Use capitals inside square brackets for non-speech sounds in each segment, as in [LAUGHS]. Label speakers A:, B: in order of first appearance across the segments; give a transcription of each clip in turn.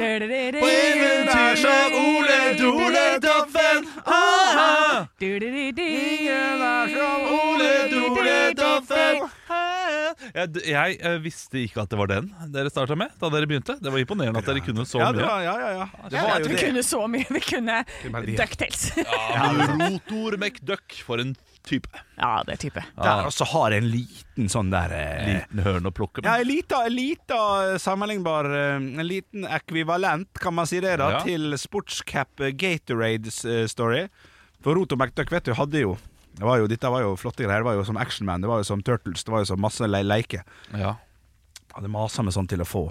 A: Ingen er som Ole Dole Doffen. Ah, ah. Ingen er som Ole Dole Doffen.
B: Jeg, jeg eh, visste ikke at det var den dere starta med da dere begynte. Det var imponerende at dere kunne så
C: Ja, det
B: mye.
C: var, ja, ja, ja. Det
D: Jeg
C: var
D: vet
C: jo
D: vi
C: det.
D: kunne så mye. Vi kunne
C: melodier.
D: Ducktails.
B: Ja, men Rotor McDuck, for en type.
D: Ja, det er type.
C: Der også har jeg en liten sånn der eh,
B: Liten høne å plukke
C: Ja,
B: med.
C: en lita, en lita eh, sammenlignbar eh, En liten ekvivalent, kan man si det, da,
B: Ja.
C: til sportscap eh, Gatorade-story. For Roto McDuck, vet du, hadde jo det var jo, Dette var jo flotte greier. Det var jo som Actionman, det var jo som Turtles, det var jo som masse le leike.
B: Ja.
C: Hadde masa med sånn til å få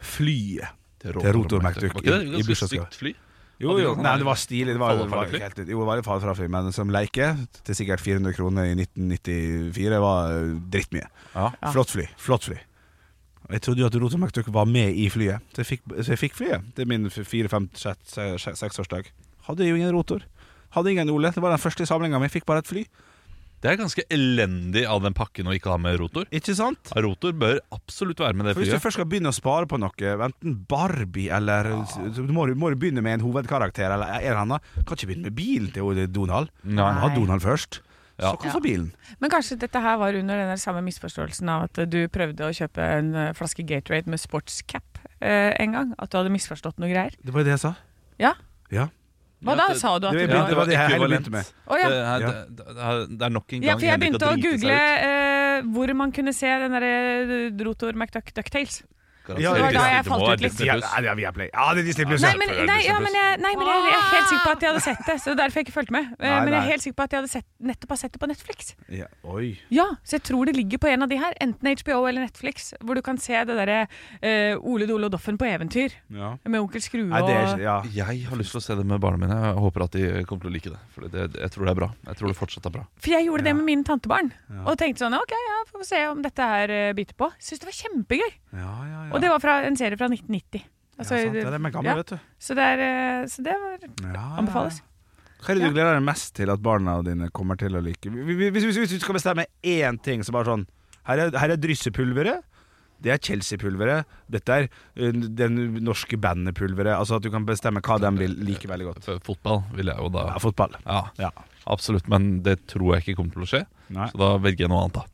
C: flyet.
B: Til
C: Rotor McDuck
B: Var ikke
C: i- i
B: det et ganske
C: bursdagsgave.
B: stygt fly?
C: Jo,
B: Hadde
C: jo.
B: du-
C: Nei, det var stilig. Det var, det var
B: Fallefrafly?
C: helt, jo, det var et fallefrafly, men som leike til sikkert 400 kroner i 1994 var eh, drittmye.
B: Ja.
C: Flott fly. Flott fly. Jeg trodde jo at Rotomaktuk var med i flyet, så jeg fikk, så jeg fikk flyet til min 4-5-6-årsdag. Hadde jo ingen rotor. Hadde ingen Ole. Det var den første samlinga mi. Jeg Fikk bare et fly.
B: Det er ganske elendig av den pakken å ikke ha med rotor.
C: Ikke sant?
B: Ja, Rotor bør absolutt være med det
C: For Hvis du
B: flyet.
C: først skal begynne å spare på noe, enten Barbie eller så må, du, må du begynne med en hovedkarakter eller en eller annen. Kan ikke begynne med bilen til Donald.
B: Nei.
C: Ha Donald først.
B: Ja.
C: Så kan så bilen.
D: Men kanskje dette her var under den der samme misforståelsen av at du prøvde å kjøpe en eh, flaske Gatorade med sportscap eh, en gang? At du hadde misforstått noe greier?
C: Det var jo det jeg sa.
D: Ja?
C: Ja.
D: Hva da?
B: Ja, det-
D: Sa du
C: det
D: at du
C: begynte-
D: var
C: det var det jeg hele begynte med.
D: Å, ja.
B: Det, er,
C: Ja.
B: det, er, det er nok en gang
D: Ja, for jeg
B: Henrik
D: begynte
B: har
D: å
B: driti seg
D: google
B: ut.
D: eh, hvor man kunne se den derre Rotor McDuck Ducktails.
C: Ja,
D: det var da jeg
B: Det
D: falt
B: må være
D: ut litt.
B: Disney+.
C: Ja, det er Viaplay. Ja, det er Disney Pluss.
D: Nei,
C: ja.
D: men,
B: selvfølgelig
D: nei, ja,
B: Disney+.
D: men, jeg, nei, men jeg, jeg er helt sikker på at jeg hadde sett det. Så det er derfor jeg ikke fulgte med. Eh,
C: Nei,
D: men jeg
C: nei.
D: er helt sikker på at jeg hadde sett, nettopp har sett det på Netflix.
C: Ja, oi.
D: Ja, Så jeg tror det ligger på en av de her, enten HBO eller Netflix, hvor du kan se det derre eh, Ole Dole og Doffen på eventyr
C: Ja.
D: med Onkel Skrue
C: Nei, det er
D: og
C: ikke ja.
B: Jeg har lyst til å se det med barna mine. Jeg håper at de kommer til å like det. For det, jeg tror det er bra. Jeg tror det fortsatt er bra.
D: For jeg gjorde det med mine tantebarn. Og tenkte sånn OK, ja, får vi se om dette her eh, biter på. Syns det var kjempegøy.
C: Ja, ja, ja.
D: Og det var fra en serie fra 1990. Altså,
C: ja, sant, det er det med gamle,
D: ja.
C: vet du.
D: Så det, er, eh, så det var,
C: Ja, ja,
D: anbefales.
C: Hva er det du gleder deg mest til at barna dine kommer til å like? Hvis, hvis, hvis du skal bestemme én ting, så bare sånn Her er, her er dryssepulveret. Det er Chelsea-pulveret. Dette er ø, den norske bandepulveret. Altså at du kan bestemme hva de vil like veldig godt.
B: F- Fotball vil jeg jo da
C: Ja, fotball.
B: Ja,
C: Ja.
B: absolutt. Men det tror jeg ikke kommer til å skje.
C: Nei.
B: Så da velger jeg noe annet, da.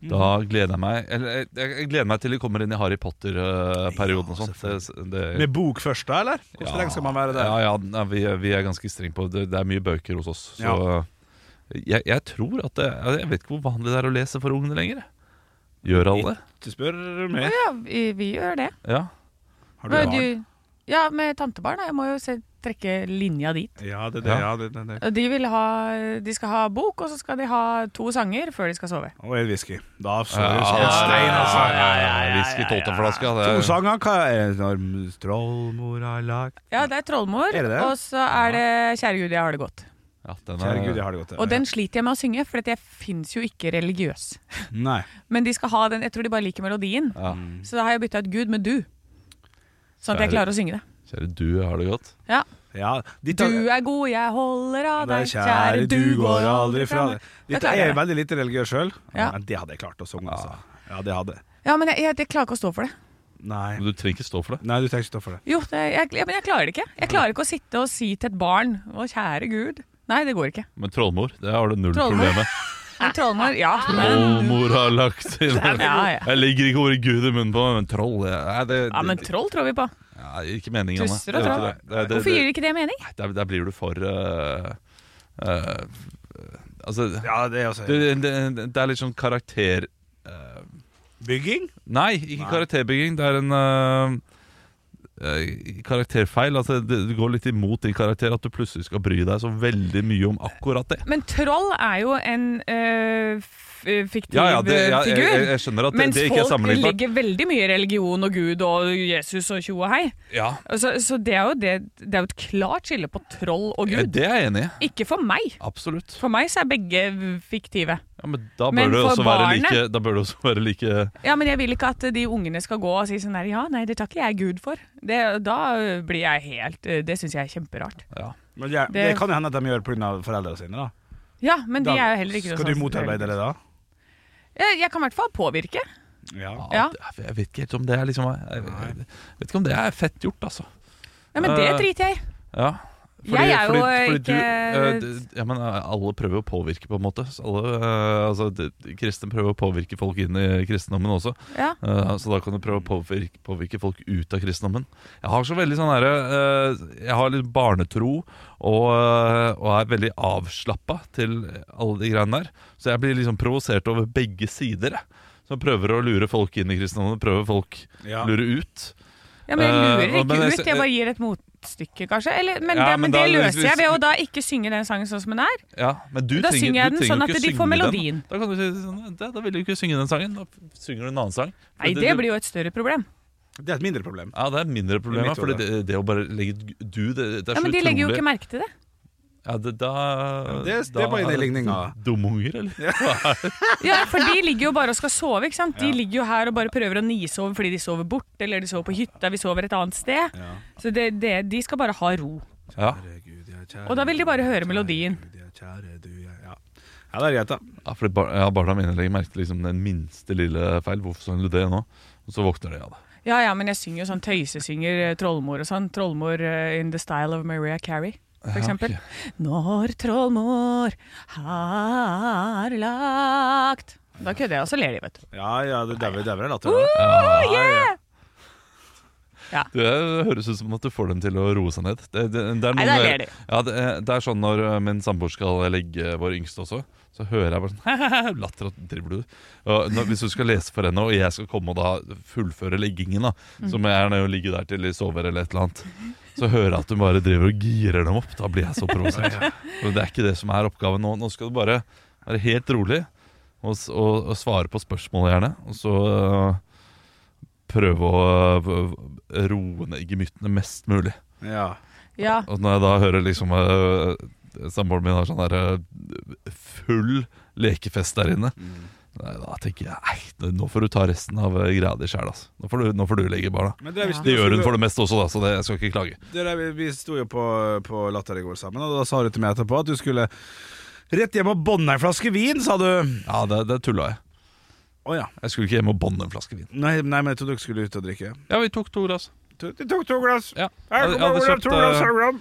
C: Mhm.
B: Da gleder jeg meg Eller jeg, jeg gleder meg til de kommer inn i Harry Potter-perioden og sånn. Det- det-
C: Med bok først, da, eller? Hvor lenge skal man være der?
B: Ja, ja nei, vi, vi er ganske strenge på det. Det er mye bøker hos oss. Så
C: Ja.
B: jeg, jeg tror at det, Jeg vet ikke hvor vanlig det er å lese for ungene lenger. Gjør alle det?
C: Ikke spør meg.
D: Ja, vi, vi gjør det.
B: Ja.
C: Har du
D: Men
C: barn?
D: du- ja, med tantebarn. da. Jeg må jo se, trekke linja dit.
C: Ja, det er det. Ja, det, det, det.
D: Og De, vil ha, de skal ha bok, og så skal de ha to sanger før de skal sove.
C: Og en whisky. Da så
B: Ja,
C: du
B: ja,
C: sånn stein, altså.
B: ja, ja, Whisky tolvteflaska.
C: To sanger, hva er det? Trollmor har lagt
D: Ja, det er Trollmor,
C: Er det det?
D: og så er det Kjære Gud, jeg har det godt.
B: Ja, den
C: Kjære Gud, jeg
B: er,
C: har det godt.
D: Og den sliter jeg med å synge, for at jeg fins jo ikke religiøs.
C: Nei.
D: Men de skal ha den, jeg tror de bare liker melodien.
B: ja.
D: Så da har jeg bytta ut Gud med du. Sånn at jeg klarer å synge det.
B: Kjære du, har det godt.
D: Ja.
C: Ja, de tar-
D: Du er god, jeg holder av
C: Nei,
D: deg, kjære, du går aldri fra meg. Da
C: Dette
D: klarer
C: er
D: jeg
C: jeg veldig lite religiøs sjøl,
D: Ja.
C: men det hadde jeg klart å synge. Altså. Ja, det hadde jeg.
D: Ja, men jeg, jeg, jeg klarer ikke å stå for det.
C: Nei.
D: Mm.
B: Men du trenger ikke stå for det.
C: Nei, du trenger ikke stå for det.
D: Jo, det, jeg, jeg, men jeg klarer det ikke. Jeg klarer ikke å sitte og si til et barn Å, kjære Gud. Nei, det går ikke.
B: Men trollmor, det har du null
D: Trollmor.
B: problem med.
D: Men Trollmor, ja. Men,
B: Trollmor har lagt
D: [LAUGHS]
B: seg
D: ja, ja.
B: Jeg legger ikke ordet Gud i munnen på meg, men troll det, nei, det,
D: ja, men troll tror vi på.
B: ja, Ikke meningen. Anne.
D: Tusser og
B: Det er
D: troll.
B: ikke det. Det- det-
D: Hvorfor
B: det-
D: gir det ikke det mening?
B: Nei, Der, der blir du for eh, eh, Altså
C: Ja, det er også
B: det, det, det er litt sånn karakter
C: Bygging?
B: Nei, ikke
C: Nei.
B: karakterbygging. Det er en øh, øh, karakterfeil. Altså, det, det går litt imot din karakter at du plutselig skal bry deg så veldig mye om akkurat det.
D: Men troll er jo en eh, f- fiktiv øh,
B: Ja, ja, det, ja jeg,
D: figur.
B: jeg, jeg skjønner at det,
D: mens
B: det ikke er
D: folk
B: sammenlignbart.
D: legger veldig mye i religion og Gud og Jesus og tjo og hei.
B: Ja,
D: Altså, så det er, jo det, det er jo et klart skille på troll og
B: ja,
D: Gud.
B: Eh, det er jeg enig i.
D: Ikke for meg.
B: Absolutt.
D: For meg så er begge fiktive.
B: Ja, men da bør,
D: Men
B: det
D: for
B: også være
D: barnet-
B: like, da bør det også være like
D: Ja, Men jeg vil ikke at de ungene skal gå og si sånn der Ja, nei, det takker jeg Gud for. Det, da blir jeg helt eh, Det syns jeg er kjemperart.
B: ja.
C: Men det, det
D: Det-
C: kan jo hende at de gjør pga. foreldrene sine. da
D: Ja, men de
C: Da-
D: er jo heller ikke sånn
C: Skal du motarbeide det da?
D: Jeg, Eh, jeg kan i hvert fall påvirke.
C: Ja.
D: Ja.
B: det- Jeg vet ikke helt om det er liksom jeg, jeg vet ikke om det er fett gjort, altså.
D: Ja, Men det
B: Eh,
D: driter jeg i.
B: Ja.
D: Jeg er jo
B: du,
D: ikke-
B: eh, d- ja, men eh, alle prøver å påvirke, på en måte. Så alle, eh, altså, d- kristne prøver å påvirke folk inn i kristendommen også.
D: Ja.
B: Eh, så da kan du prøve å påvirke, påvirke folk ut av kristendommen. Jeg har så veldig sånn herre eh, Jeg har litt barnetro og, eh, og er veldig avslappa til alle de greiene der. Så jeg blir liksom provosert over begge sider. jeg. Som prøver å lure folk inn i kristendommen, prøver folk
C: Ja.
B: lure ut.
D: Ja, men jeg
B: Eh,
D: lurer ikke
B: men jeg
D: ut,
B: ser-
D: jeg bare gir et motstykke, kanskje. Eller, men
B: Ja,
D: det, men
B: men
D: det
B: da-
D: løser jeg
B: hvis-
D: ved å da ikke synge den sangen sånn som den er.
B: Ja, men du
D: Da
B: trenger,
D: synger jeg
B: du
D: den
B: trenger
D: sånn
B: jo
D: at
B: ikke
D: de får
B: synge den.
D: melodien.
B: Da, kan du si sånn, da, da vil du ikke synge den sangen. Da synger du en annen sang.
D: Nei, det blir jo et større problem.
C: Det er et mindre problem.
B: Ja, det er mindre problem.
C: I mitt
B: For
C: hode.
B: det, det å bare legge ut du, det, det er
D: Ja,
B: så
D: Men de legger jo
B: utrolig-
D: ikke merke til det.
B: Ja, det, da,
C: Ja, det- det er bare en ligning, da.
B: Dumunger, eller?
D: Ja, For de ligger jo bare og skal sove, ikke sant. De ligger jo her og bare prøver å nisove fordi de sover bort, eller de sover på hytta, vi sover et annet sted.
C: Ja.
D: Så det, det, de skal bare ha ro.
B: Ja,
D: Og da vil de bare høre melodien.
C: ja. ja, det er greit, da.
B: ja for bar, ja, barna mine legger merke til liksom, den minste lille feil. Hvorfor sang du det nå? Og så våkner de av det.
D: Ja ja, men jeg synger jo sånn tøysesynger, eh, trollmor og sånn. Trollmor eh, in the style of Maria Carrie, for eksempel. Når trollmor har lagt Da kødder jeg, og så ler de, vet du.
C: Ja, ja, det dauer dauer av latter. da.
B: Ja,
D: yeah!
B: Det høres ut som at du får dem til å roe seg ned. Det, det, det er
D: Nei,
B: noen
D: der
B: der-
D: ler de.
B: Ja, det, det er sånn når eh, min samboer skal legge vår yngste også, så hører jeg bare sånn [LAUGHS] Latter og driver du og når, Hvis du skal lese for henne, og jeg skal komme og da fullføre leggingen, da, som jeg er nødt å ligge der til de sover eller et eller annet, så hører jeg at hun bare driver og girer dem opp. Da blir jeg så provosert. Og det er ikke det som er oppgaven nå. Nå skal du bare være helt rolig og, s- og, og svare på spørsmål, gjerne. Og så øh, prøve å øh, roe ned gemyttene mest mulig.
C: Ja.
D: Ja.
B: Og når jeg da hører liksom øh, samboeren min har sånn der øh, full lekefest der inne, nei, da tenker jeg nei, det- nå får du ta resten av øh, greia di sjæl, altså. Nå får, du, nå får du legge barna.
C: Men det, er hvis-
B: Det gjør hun for det meste også, da, så det, jeg skal ikke klage.
C: Det der, vi- vi sto jo på, på Latter i går sammen, og da sa du til meg etterpå at du skulle rett hjem og bånde ei flaske vin, sa du.
B: Ja, det, det tulla jeg.
C: Å ja.
B: Jeg skulle ikke hjem og bånde en flaske vin.
C: Nei, nei, men jeg trodde dere skulle ut og drikke.
B: Ja, vi tok to glass.
C: Du du tok to glass.
B: Ja.
C: Her
B: Jeg hadde- jeg
C: kommer
B: hadde
C: Olav,
B: kjøpt,
C: to glass
B: eh,
C: av rom.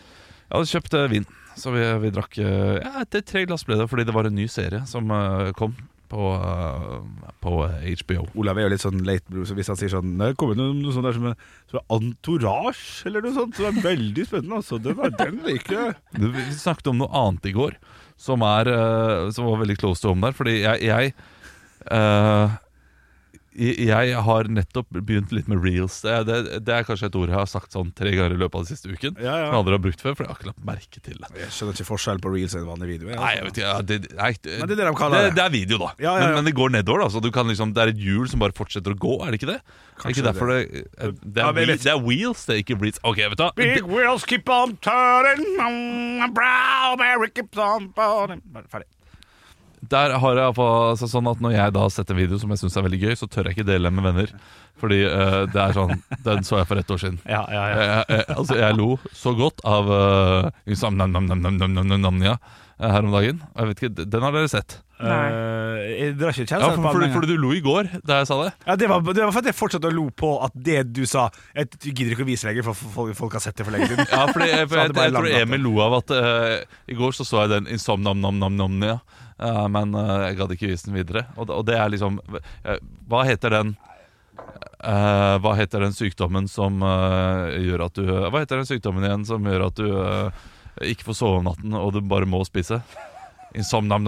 B: Jeg hadde kjøpt eh, vin, så vi, vi drakk eh, ja, Etter tre glass ble det, fordi det var en ny serie som eh, kom på, eh, på eh, HBO.
C: Olav er jo litt sånn late blue, så hvis han sier sånn Det kommer noe, noe sånt der som er, som er entourage, eller noe sånt, som er veldig spennende, altså. Den, er- den liker jeg.
B: Du, Vi snakket om noe annet i går som, er, eh, som var veldig close to home der, fordi jeg jeg, eh, jeg jeg har nettopp begynt litt med reels. Det, det, det er kanskje et ord jeg har sagt sånn tre ganger i løpet av den siste uken.
C: Ja, ja.
B: Som jeg aldri har brukt før, for jeg har ikke lagt merke til det.
C: Jeg skjønner ikke forskjell på reels og en vanlig video. jeg,
B: Nei,
C: altså.
B: jeg vet ikke ja, det, nei, det,
C: Men det er det de kaller det.
B: Det er video, da.
C: Ja, ja, ja.
B: Men, men det går nedover. da Så du kan liksom, Det er et hjul som bare fortsetter å gå, er det ikke det? er
C: Kanskje
B: ikke derfor det Det, er, det,
C: Ja, men jeg
B: er, whe-
C: vet-
B: det er wheels, det er ikke reels. Ok, vet du hva?
C: Big wheels keep on turning, mm, brown berry keeps on burning. Bare Ferdig.
B: Der har jeg i hvert fall- altså, sånn at Når jeg da setter en video som jeg syns er veldig gøy, så tør jeg ikke dele den med venner. Fordi eh, det er sånn Den så jeg for ett år siden.
E: Ja, ja, ja.
B: Jeg, jeg, altså, jeg lo så godt av eh, liksom, nam, nam, nam, nam, nam, nam, nam, nam, ja, eh, her om dagen. Og Jeg vet ikke, Den har dere sett?
D: Nei.
C: Eh, jeg drar ikke
B: Ja,
C: kjæreste
B: for,
C: på
B: fordi,
C: allmenn.
B: fordi du lo i går da jeg sa det.
C: ja, det, var, det var for at jeg fortsatte å lo på at det du sa Jeg gidder ikke å vise lenger, for folk, folk har sett det for lenge siden.
B: [LAUGHS] Ja, fordi jeg,
C: Så hadde
B: for jeg,
C: det bare
B: jeg tror
C: landet.
B: Emil lo av at eh, I går så så jeg den Insomnam-nam-nam-nam-nia, men eh, jeg gadd ikke vise den videre. Og, det- og det er liksom eh, Hva heter den eh, Hva heter den sykdommen som eh, gjør at du Hva heter den sykdommen igjen som gjør at du eh, ikke får sove om natten, og du bare må spise?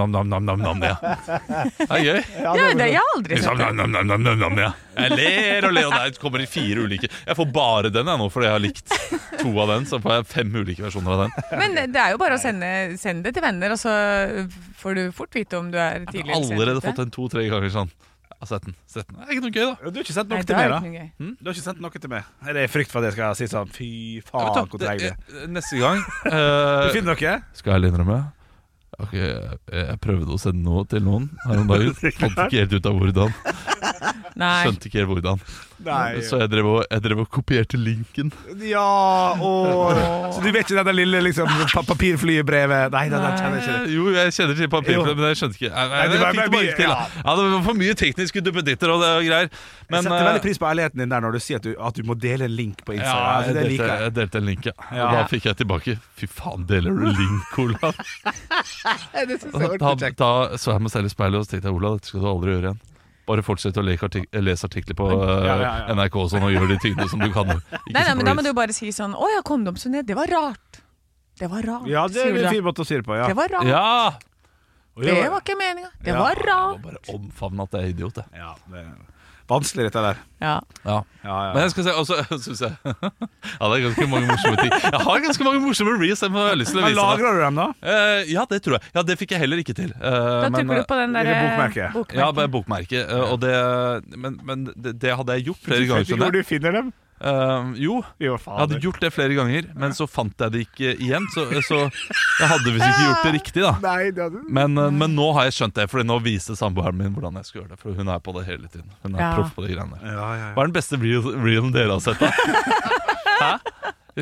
B: Insomnam-nam-nam-nam-nam-nam-ja. Det er gøy.
D: Ja, det, jeg har aldri sett det.
B: Insomnam-nam-nam-nam-nam-ja. Jeg ler og ler, og der kommer det fire ulike. Jeg får bare den jeg nå, fordi jeg har likt to av den. Så får jeg fem ulike versjoner av den.
D: Men det er jo bare å sende, send det til venner, og så får du fort vite om du er
B: Jeg
D: tidlig
B: har allerede fått den to-tre ganger sånn. Jeg har sett den. Sett den. Det er ikke noe gøy, da. Hm?
C: Du har ikke sett
D: Nei,
C: noe
D: det
C: til
D: er
C: meg,
D: ikke
C: da?
D: noe gøy.
C: Du har ikke sett noe til meg? Er det frykt for at jeg skal si sånn Fy faen,
B: Ja, vet
C: hvor
B: du,
C: treig det er?
B: det- Neste gang
C: Du
B: eh,
C: finner noe?
B: Skal jeg ærlig innrømme Ok, jeg, jeg prøvde å sende noe til noen her om
C: [LAUGHS]
B: dagen. Fant ikke helt ut av hvordan.
D: Nei.
B: Skjønte ikke helt hvordan. Så jeg drev og, jeg drev og kopierte linken.
C: Ja, og Så du vet ikke det der lille liksom, pa- papirflybrevet? Nei, det der kjenner jeg ikke.
B: Eh, Jo, jeg kjenner til papirfløy, men jeg skjønte ikke Nei, nei,
C: Nei, det
B: jeg
C: var-
B: fikk det bare
C: mye-
B: ikke til. da. Ja, det var for mye tekniske duppeditter og det og greier.
C: Jeg
B: Men
C: setter veldig
B: eh,
C: pris på ærligheten din der når du sier at du, at du må dele en link på
B: ja,
C: Instagram. Altså,
B: jeg
C: det
B: delte,
C: liker jeg.
B: jeg delte en link, ja. Og
C: Ja.
B: da fikk jeg tilbake Fy faen, deler du link,
C: [LAUGHS]
B: Olav? da, da, da så jeg meg selv i speilet og så tenkte jeg, Olav, dette skal du aldri gjøre igjen. Bare fortsett å leke artik lese artikler på eh,
C: Ja, ja, ja.
B: NRK og sånn, og gjør de tingene som du kan. Ikke
D: Nei, nei, men da må
B: stories.
D: du bare si sånn Å ja, kondomsonert, det var rart. Det var rart,
C: Ja, det
D: sier
C: er
D: du da.
C: en fin måte å si det på. Ja.
D: Det var rart.
B: Ja!
D: Det var ikke meninga. Det
C: Ja.
D: var
B: Jeg må
D: rart.
B: bare omfavne at jeg er idiot, jeg.
C: Ja, det er vanskelig, dette der.
D: Ja.
B: Ja.
C: Ja, ja.
B: Men jeg skal se, og så syns [LAUGHS] jeg Ja, det er ganske mange morsomme ting. Jeg har ganske mange morsomme reels, jeg har lyst til å
C: Men
B: vise deg.
C: lagrer du dem, da?
B: Eh, ja, det tror jeg. Ja, det fikk jeg heller ikke til. Eh,
D: Da
B: men,
D: trykker du på den eh, derre
C: Lille bokmerket.
B: ja, bare bokmerke. eh, og det, men men det, det hadde jeg gjort flere ganger.
C: Vet ikke
B: skjønner
C: hvor
B: jeg.
C: du finner dem?
B: Eh, jo,
C: Jo,
B: Jeg hadde
C: faen.
B: gjort det flere ganger, men så fant jeg det ikke igjen. Så, så jeg hadde visst ikke gjort det riktig, da.
C: Nei, det hadde du.
B: Men, eh, men nå har jeg skjønt det, for nå viser samboeren min hvordan jeg skal gjøre det. For hun er på det hele tiden. Hun er
D: Ja.
B: proff på de greiene der.
C: Ja, ja, ja.
B: Hva er den beste reel- reelen dere har sett, da? Hæ?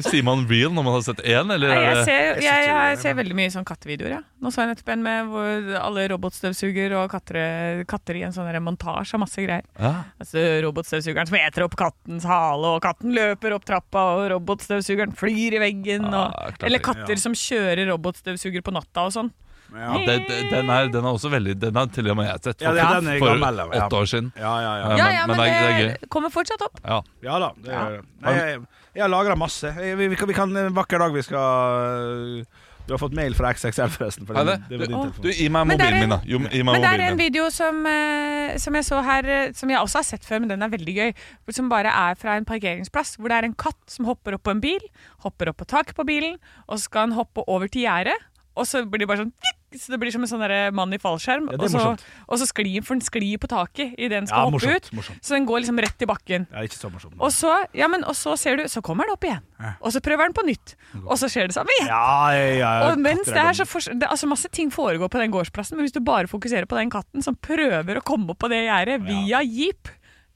B: Sier man reel når man har sett én, eller?
D: Nei,
B: er
D: jeg
B: det-
D: ser, jeg, jeg, ser veldig mye sånn kattevideoer. Ja. Nå så jeg nettopp en med hvor alle robotstøvsuger og katter, katter i en sånn der montasje av masse greier.
B: Ja.
D: Altså Robotstøvsugeren som eter opp kattens hale, og katten løper opp trappa, og robotstøvsugeren flyr i veggen.
B: Ja,
D: Og,
B: klart
D: eller
B: det.
D: katter som kjører robotstøvsuger på natta og sånn.
B: Ja, den, den, er, den er også veldig Den har til og med jeg sett
C: Ja,
B: for,
C: den er
B: for
C: gammel, ja.
B: åtte år siden.
C: Ja, ja, ja.
B: Ja,
D: Ja,
B: men-
D: ja,
B: men
D: men,
B: det er-
D: det, kommer fortsatt opp.
B: Ja.
C: Ja da. Det gjør jeg. Nei, jeg, jeg har lagra masse. Jeg- Vi, vi, kan, vi kan En vakker dag vi skal Du har fått mail fra XXL, forresten. For
B: Er
C: det,
B: det?
C: det var din
D: Å.
C: telefon.
B: Du, gi meg
D: Men det er
B: mobilen
D: en-
B: min, da. Jo, gi meg
D: Men det er en
B: mobilen min.
D: video som, eh, som jeg så her, eh, som jeg også har sett før, men den er veldig gøy. Som bare er fra en parkeringsplass, hvor det er en katt som hopper opp på en bil, hopper opp på taket på bilen, og så skal han hoppe over til gjerdet. Og så blir det bare sånn tikk, Så det blir som en sånn der mann i
C: Ja,
D: fallskjerm.
C: det er
D: og, så,
C: morsomt.
D: og så sklir for den sklir på taket idet den skal
C: Ja,
D: hoppe
C: morsomt,
D: ut.
C: morsomt.
D: Så den går liksom rett i bakken.
C: Ja, ikke så morsomt.
D: Og så, ja, men, og så ser du, så kommer den opp igjen. Og så prøver den på nytt. Og så skjer det samme igjen.
C: Ja, ja, ja.
D: Og mens det er så fors- det, altså Masse ting foregår på den gårdsplassen, men hvis du bare fokuserer på den katten som prøver å komme opp på det gjerdet via jeep,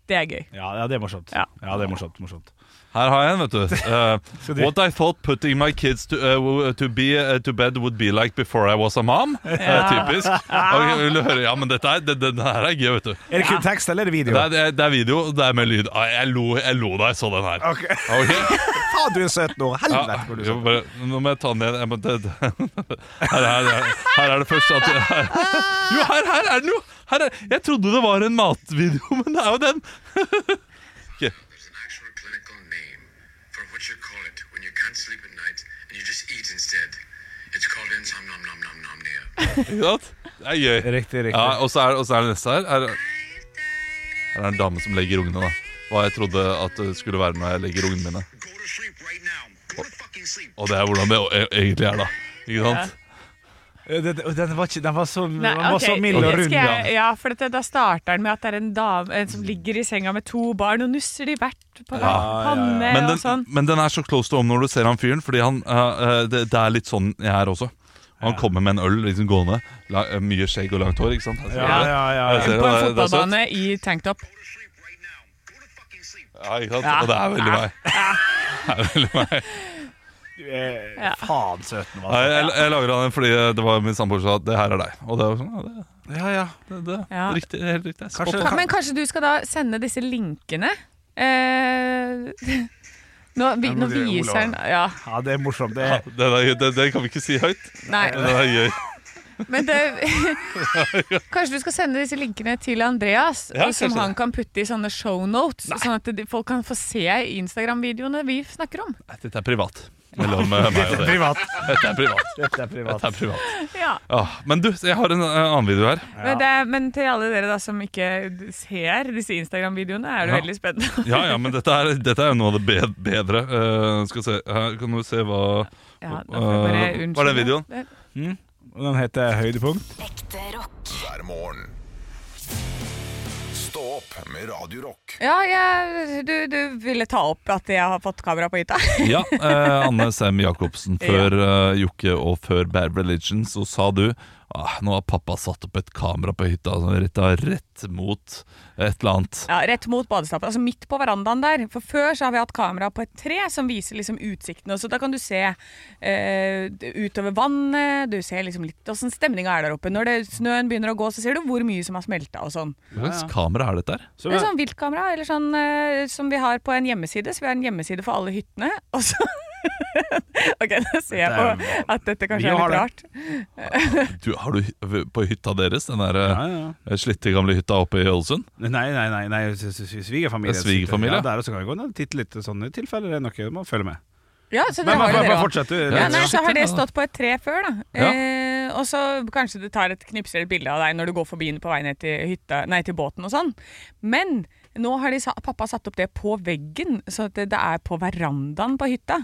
D: det er gøy.
C: ja, ja, det er morsomt.
D: Ja.
C: Ja, det er morsomt, morsomt.
B: Her har jeg en,
C: [LAUGHS]
B: vet du. Eh,
C: Skal du-
B: what I thought putting my kids to, eh, w- to, be, eh, to bed would be like before I was a mom. Eh, typisk. Ok, vil du høre? Ja, men dette er, det, det, det her er gøy, vet du.
C: Er det kun tekst, eller er det video?
B: Det er, det er- det er video, og det er med lyd. Ah, Jeg lo, jeg lo da jeg så den her. Ah,
C: Ok. [LAUGHS]
B: Ok?
C: Faen, du er søt nå!
B: Ja,
C: Helvete, hvor du er
B: jeg
C: søt.
B: bare, nå må jeg ta den igjen. Jeg må, det, det- [LAUGHS] her, er- her, er- her er det først at her, Jo, her, her er den jo! Her er, jeg trodde det var en matvideo, [LAUGHS] men det er jo den.
F: There's an actual clinical name for what you call it when you can't sleep at night and you just eat instead. It's called insomnomnomnomnomnia.
B: Ikke sant? Det er gøy.
C: Riktig, riktig.
B: Ja, og så er, og så er det neste her. Her, her er det en dame som legger ungene, da. Hva jeg trodde at det skulle være når jeg legger ungene mine.
F: [LAUGHS] Go to sleep right now. Go to fucking sleep.
A: Oh.
B: Og det er hvordan det e- egentlig er, da. Ikke sant?
C: Den, Eh, den, var ikke, den var så, den var så mild og
D: skal
C: rund.
D: jeg-
C: ja.
D: ja, for dette, Da starter den med at det er en dame eh, som ligger i senga med to barn og nusser de hvert på hver panne
B: Men
D: og
B: den,
D: sånn.
B: men den er så close to home når du ser han fyren, fordi han, eh, eh, det, det er litt sånn jeg er også. Og han kommer med en øl liksom gående. La, eh, mye skjegg og langt hår, ikke sant? Jeg ser
C: Ja,
B: det.
C: ja, ja, ja.
B: Jeg ser
D: På en
B: det, det er søtt.
D: fotballbane i tanktop.
F: Go to sleep right now. Go to fucking sleep.
B: Ja, ikke sant? Og det er veldig
D: [LAUGHS]
B: meg. Det er veldig meg.
C: Du er Eh, faen søt nå,
B: Nei,
C: altså.
B: jeg, jeg lagra den fordi eh, det var min samboer som sa at det her er deg. Og det var sånn, ja, det,
C: Ja, ja.
B: det, det,
D: Ja.
B: Riktig, det er helt riktig. Spot
C: Kanskje-
B: on.
D: Ka- Men kanskje du skal da sende disse linkene? Eh, [LAUGHS] nå, vi,
C: Jeg må
D: nå
C: gjøre Olav.
D: viser den Ja,
C: ja, det er morsomt. Det
B: Ja,
C: er
B: Den, er, den, den kan vi ikke si høyt.
D: nei.
B: Den er gøy.
D: Men det, [LAUGHS] kanskje du skal sende disse linkene til Andreas,
B: Ja,
D: og som
B: kanskje
D: han
B: det.
D: kan putte i sånne shownotes, sånn at de- folk kan få se Instagram-videoene vi snakker om.
B: Nei, Dette er privat. mellom eh, meg og dere.
C: Privat.
B: Dette er privat.
C: Dette er privat.
B: Dette er privat.
D: [LAUGHS] Ja.
B: Ah, men du, jeg har en eh, annen video her.
D: Men, det, er- men til alle dere da som ikke ser disse Instagram-videoene, er det
B: Ja.
D: veldig spennende.
B: [LAUGHS] Ja, ja, men dette er, dette er jo noe av det be- bedre. Eh, skal vi se, Her kan du se hva
D: Ja, da får jeg bare
B: Eh,
D: unnskylde.
B: var det videoen?
D: Det-
C: Og Den heter Høydepunkt.
A: hver morgen. Stå opp med Radio Rock.
D: Ja, jeg, du, du ville ta opp at jeg har fått kamera på hytta? [LAUGHS]
B: Ja, eh, Anne Sem Jacobsen. Før eh, Jokke og før Bad Religion så sa du ah, nå har pappa satt opp et kamera på hytta som retta rett mot et eller annet.
D: Ja, Rett mot badestappen, altså midt på verandaen der. For Før så har vi hatt kamera på et tre som viser liksom utsikten. og Så da kan du se eh, utover vannet, du ser liksom litt åssen stemninga er der oppe. Når det, snøen begynner å gå, så ser du hvor mye som har smelta og sånn.
B: Hva slags kamera er dette her?
C: Så,
D: Det er sånn viltkamera eller sånn eh, som vi har på en hjemmeside. Så vi har en hjemmeside for alle hyttene. [LAUGHS] Og så Ok, nå ser jeg
C: Dette er
D: på at dette
C: Vi
D: kanskje er
C: har
D: litt
C: det.
D: rart.
B: Du, har du hy- på hytta deres? Den der
C: ja, ja.
B: eh, slitte gamle hytta oppe i Ålesund?
C: Nei, nei, nei, nei s- s- s- svigerfamilie.
B: Det er svigerfamilie?
C: Ja, der også kan vi gå ned og titte litt. Sånne tilfeller er nok man følger med.
D: Ja, så
C: Men
D: dere har jo
C: bare,
D: dere
C: bare
D: også.
C: fortsett, du.
D: Ja,
B: Ja,
D: nei,
B: ja.
D: så har det
B: Shit, ja.
D: stått på et tre før, da.
B: Ja.
D: Eh, og så kanskje det tar et knipser et bilde av deg når du går forbi den på vei ned til, hytta, nei, til båten og sånn. Men nå har de, sa- pappa satt opp det på veggen, så at det, det er på verandaen på hytta.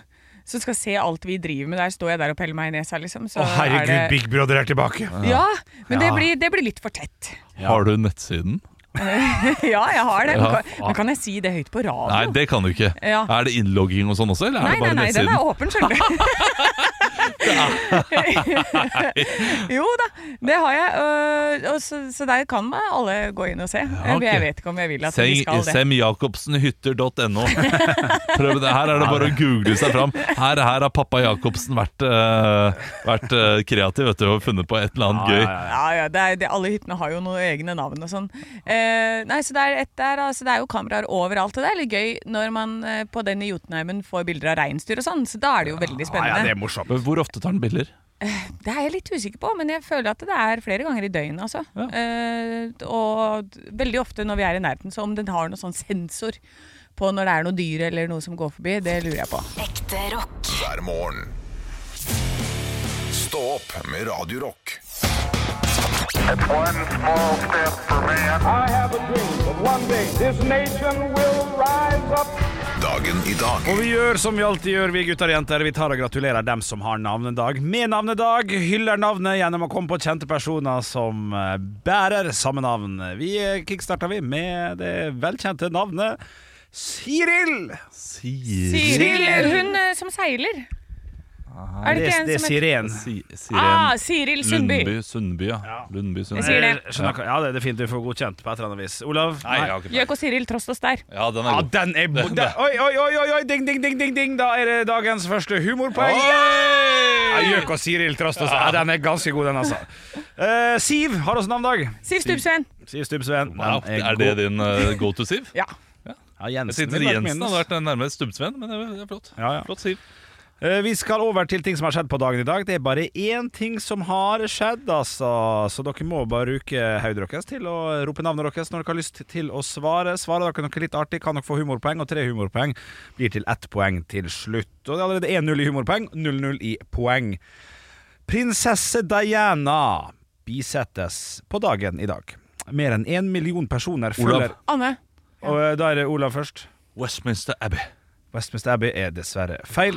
D: Så du skal se alt vi driver med der. Står jeg der og peller meg i nesa, liksom. Så
C: Å, herregud,
D: er det,
C: Big Brother er tilbake!
D: ja, men Det,
C: Ja.
D: blir, det blir litt for tett. [LAUGHS]
B: Har du nettsiden?
D: ja, jeg har det. Men
B: Ja.
D: kan, men kan jeg si det høyt på radio?
B: Nei, det kan du ikke.
D: Ja.
B: Er det innlogging og sånn også, eller
D: Nei,
B: er det
D: nei,
B: bare
D: nei, den
B: nettsiden?
D: er åpen, skjønner du. [LAUGHS] jo da, det har jeg. øh, og så, så der kan da alle gå inn og se.
B: ok.
D: Jeg vet ikke om jeg vil at de
B: Seng,
D: skal det. [LAUGHS]
B: semjacobsenhytter.no. Prøv det. Her er det bare å google seg fram. Her, her har pappa Jacobsen vært, eh, vært eh, kreativ vet du, og funnet på et eller annet gøy.
D: Ja, ja, det er, det, Alle hyttene har jo noen egne navn og sånn. Eh, nei, så Det er et der, altså, det er jo kameraer overalt, og det er litt gøy når man eh, på den i Jotunheimen får bilder av reinsdyr og sånn. Så da er det jo veldig
C: Ja, ja,
D: spennende.
C: det er morsomt.
B: Men hvor ofte tar den bilder?
D: Det er jeg litt usikker på, men jeg føler at det er flere ganger i døgnet. Altså.
B: Ja.
D: Eh, og veldig ofte når vi er i nærheten, så om den har noen sånn sensor på når det er noe dyr eller noe som går forbi, det lurer jeg på.
A: hver morgen. Stå opp med Radio Rock.
G: I have a dream that one day this nation will rise up.
A: Dagen i dag.
C: Og vi gjør som vi alltid gjør, vi gutter og jenter. Vi tar og gratulerer dem som har navnedag med navnedag. Hyller navnet gjennom å komme på kjente personer som eh, bærer samme navn. Vi eh, kickstarter vi med det velkjente navnet Siril.
B: Siri.
D: Siril, hun eh, som seiler. Er det
C: Ah, Det,
D: ikke en
C: det er
D: som heter
C: Siren.
D: Ah, Siril
B: Lundby,
D: Sundby.
B: Sundby, ja. Lundby,
D: Jeg
B: Sundby.
D: sier det.
C: Eh, skjønner hva- Ja, det er fint du får godkjent på et eller annet vis. Olav?
B: Nei, jeg har ikke
D: Gjøk og Siril Trost og Stær.
B: Ja, den
C: Ja,
B: er god.
C: den er bo- den- Oi, oi, oi, oi, oi, ding, ding, ding, ding, ding. Da er det dagens første humorpoeng. Ja, Gjøk og Siril Trøst også. Ja, den er ganske god, den,
B: [LAUGHS]
C: altså. Eh, Siv har også navnedag.
D: Siv Stubbsveen.
C: Siv Stubbsveen. den
B: Wow, er
C: god.
B: det din eh, go to, Siv?
D: [LAUGHS] Ja.
C: Ja, Jensen,
B: Jeg sitter
C: ville vært
B: Jensen
C: minus.
B: hadde vært nærmere Stubbsvenn, men det er- det er flott.
C: Ja, ja.
B: Flott, Siv.
C: Eh, Vi skal over til ting som har skjedd på dagen i dag. Det er bare én ting som har skjedd, altså. Så dere må bare bruke hodet deres til å rope navnet deres når dere har lyst til å svare. Svarer dere noe litt artig, kan dere få humorpoeng, og tre humorpoeng blir til ett poeng til slutt. Og det er allerede 1-0 i humorpoeng, 0-0 i poeng. Prinsesse Diana bisettes på dagen i dag. Mer enn én million personer følger
B: Olav.
D: Anne.
C: Og eh, da er det Olav først.
B: Westminster Abbey.
C: Westminster Abbey er dessverre feil.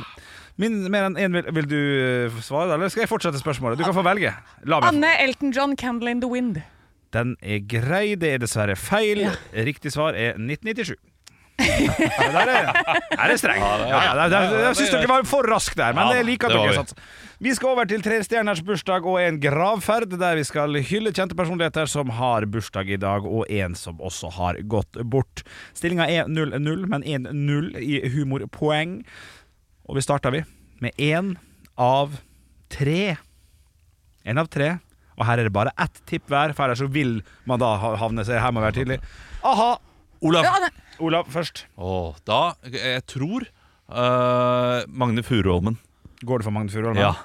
C: Min, mer enn en vil, vil du eh, svare, eller skal jeg fortsette spørsmålet? Du kan få velge. La meg
D: Anne Elton John, 'Candle in the Wind'.
C: Den er grei, det er dessverre feil. Riktig svar er 1997. [LAUGHS] Ja, der er der er det streng. Ja, ja, der- der- Jeg syns dere var for rask der, men
B: Ja,
C: jeg liker at
B: det var
C: dere
B: vi.
C: satser. Vi skal over til tre stjerners bursdag og en gravferd, der vi skal hylle kjente personligheter som har bursdag i dag, og en som også har gått bort. Stillinga er 0-0, men 1-0 i humorpoeng. Og vi starter vi med én av tre. En av tre. Og her er det bare ett tipp hver, for ellers så vil man da ha- havne seg Her må være tydelig. Aha! Ah.
B: Olav.
D: Ja, Anne.
C: Olav først.
B: Åh, da Jeg tror eh, Magne Furuholmen.
C: Går det for Magne Furuholm?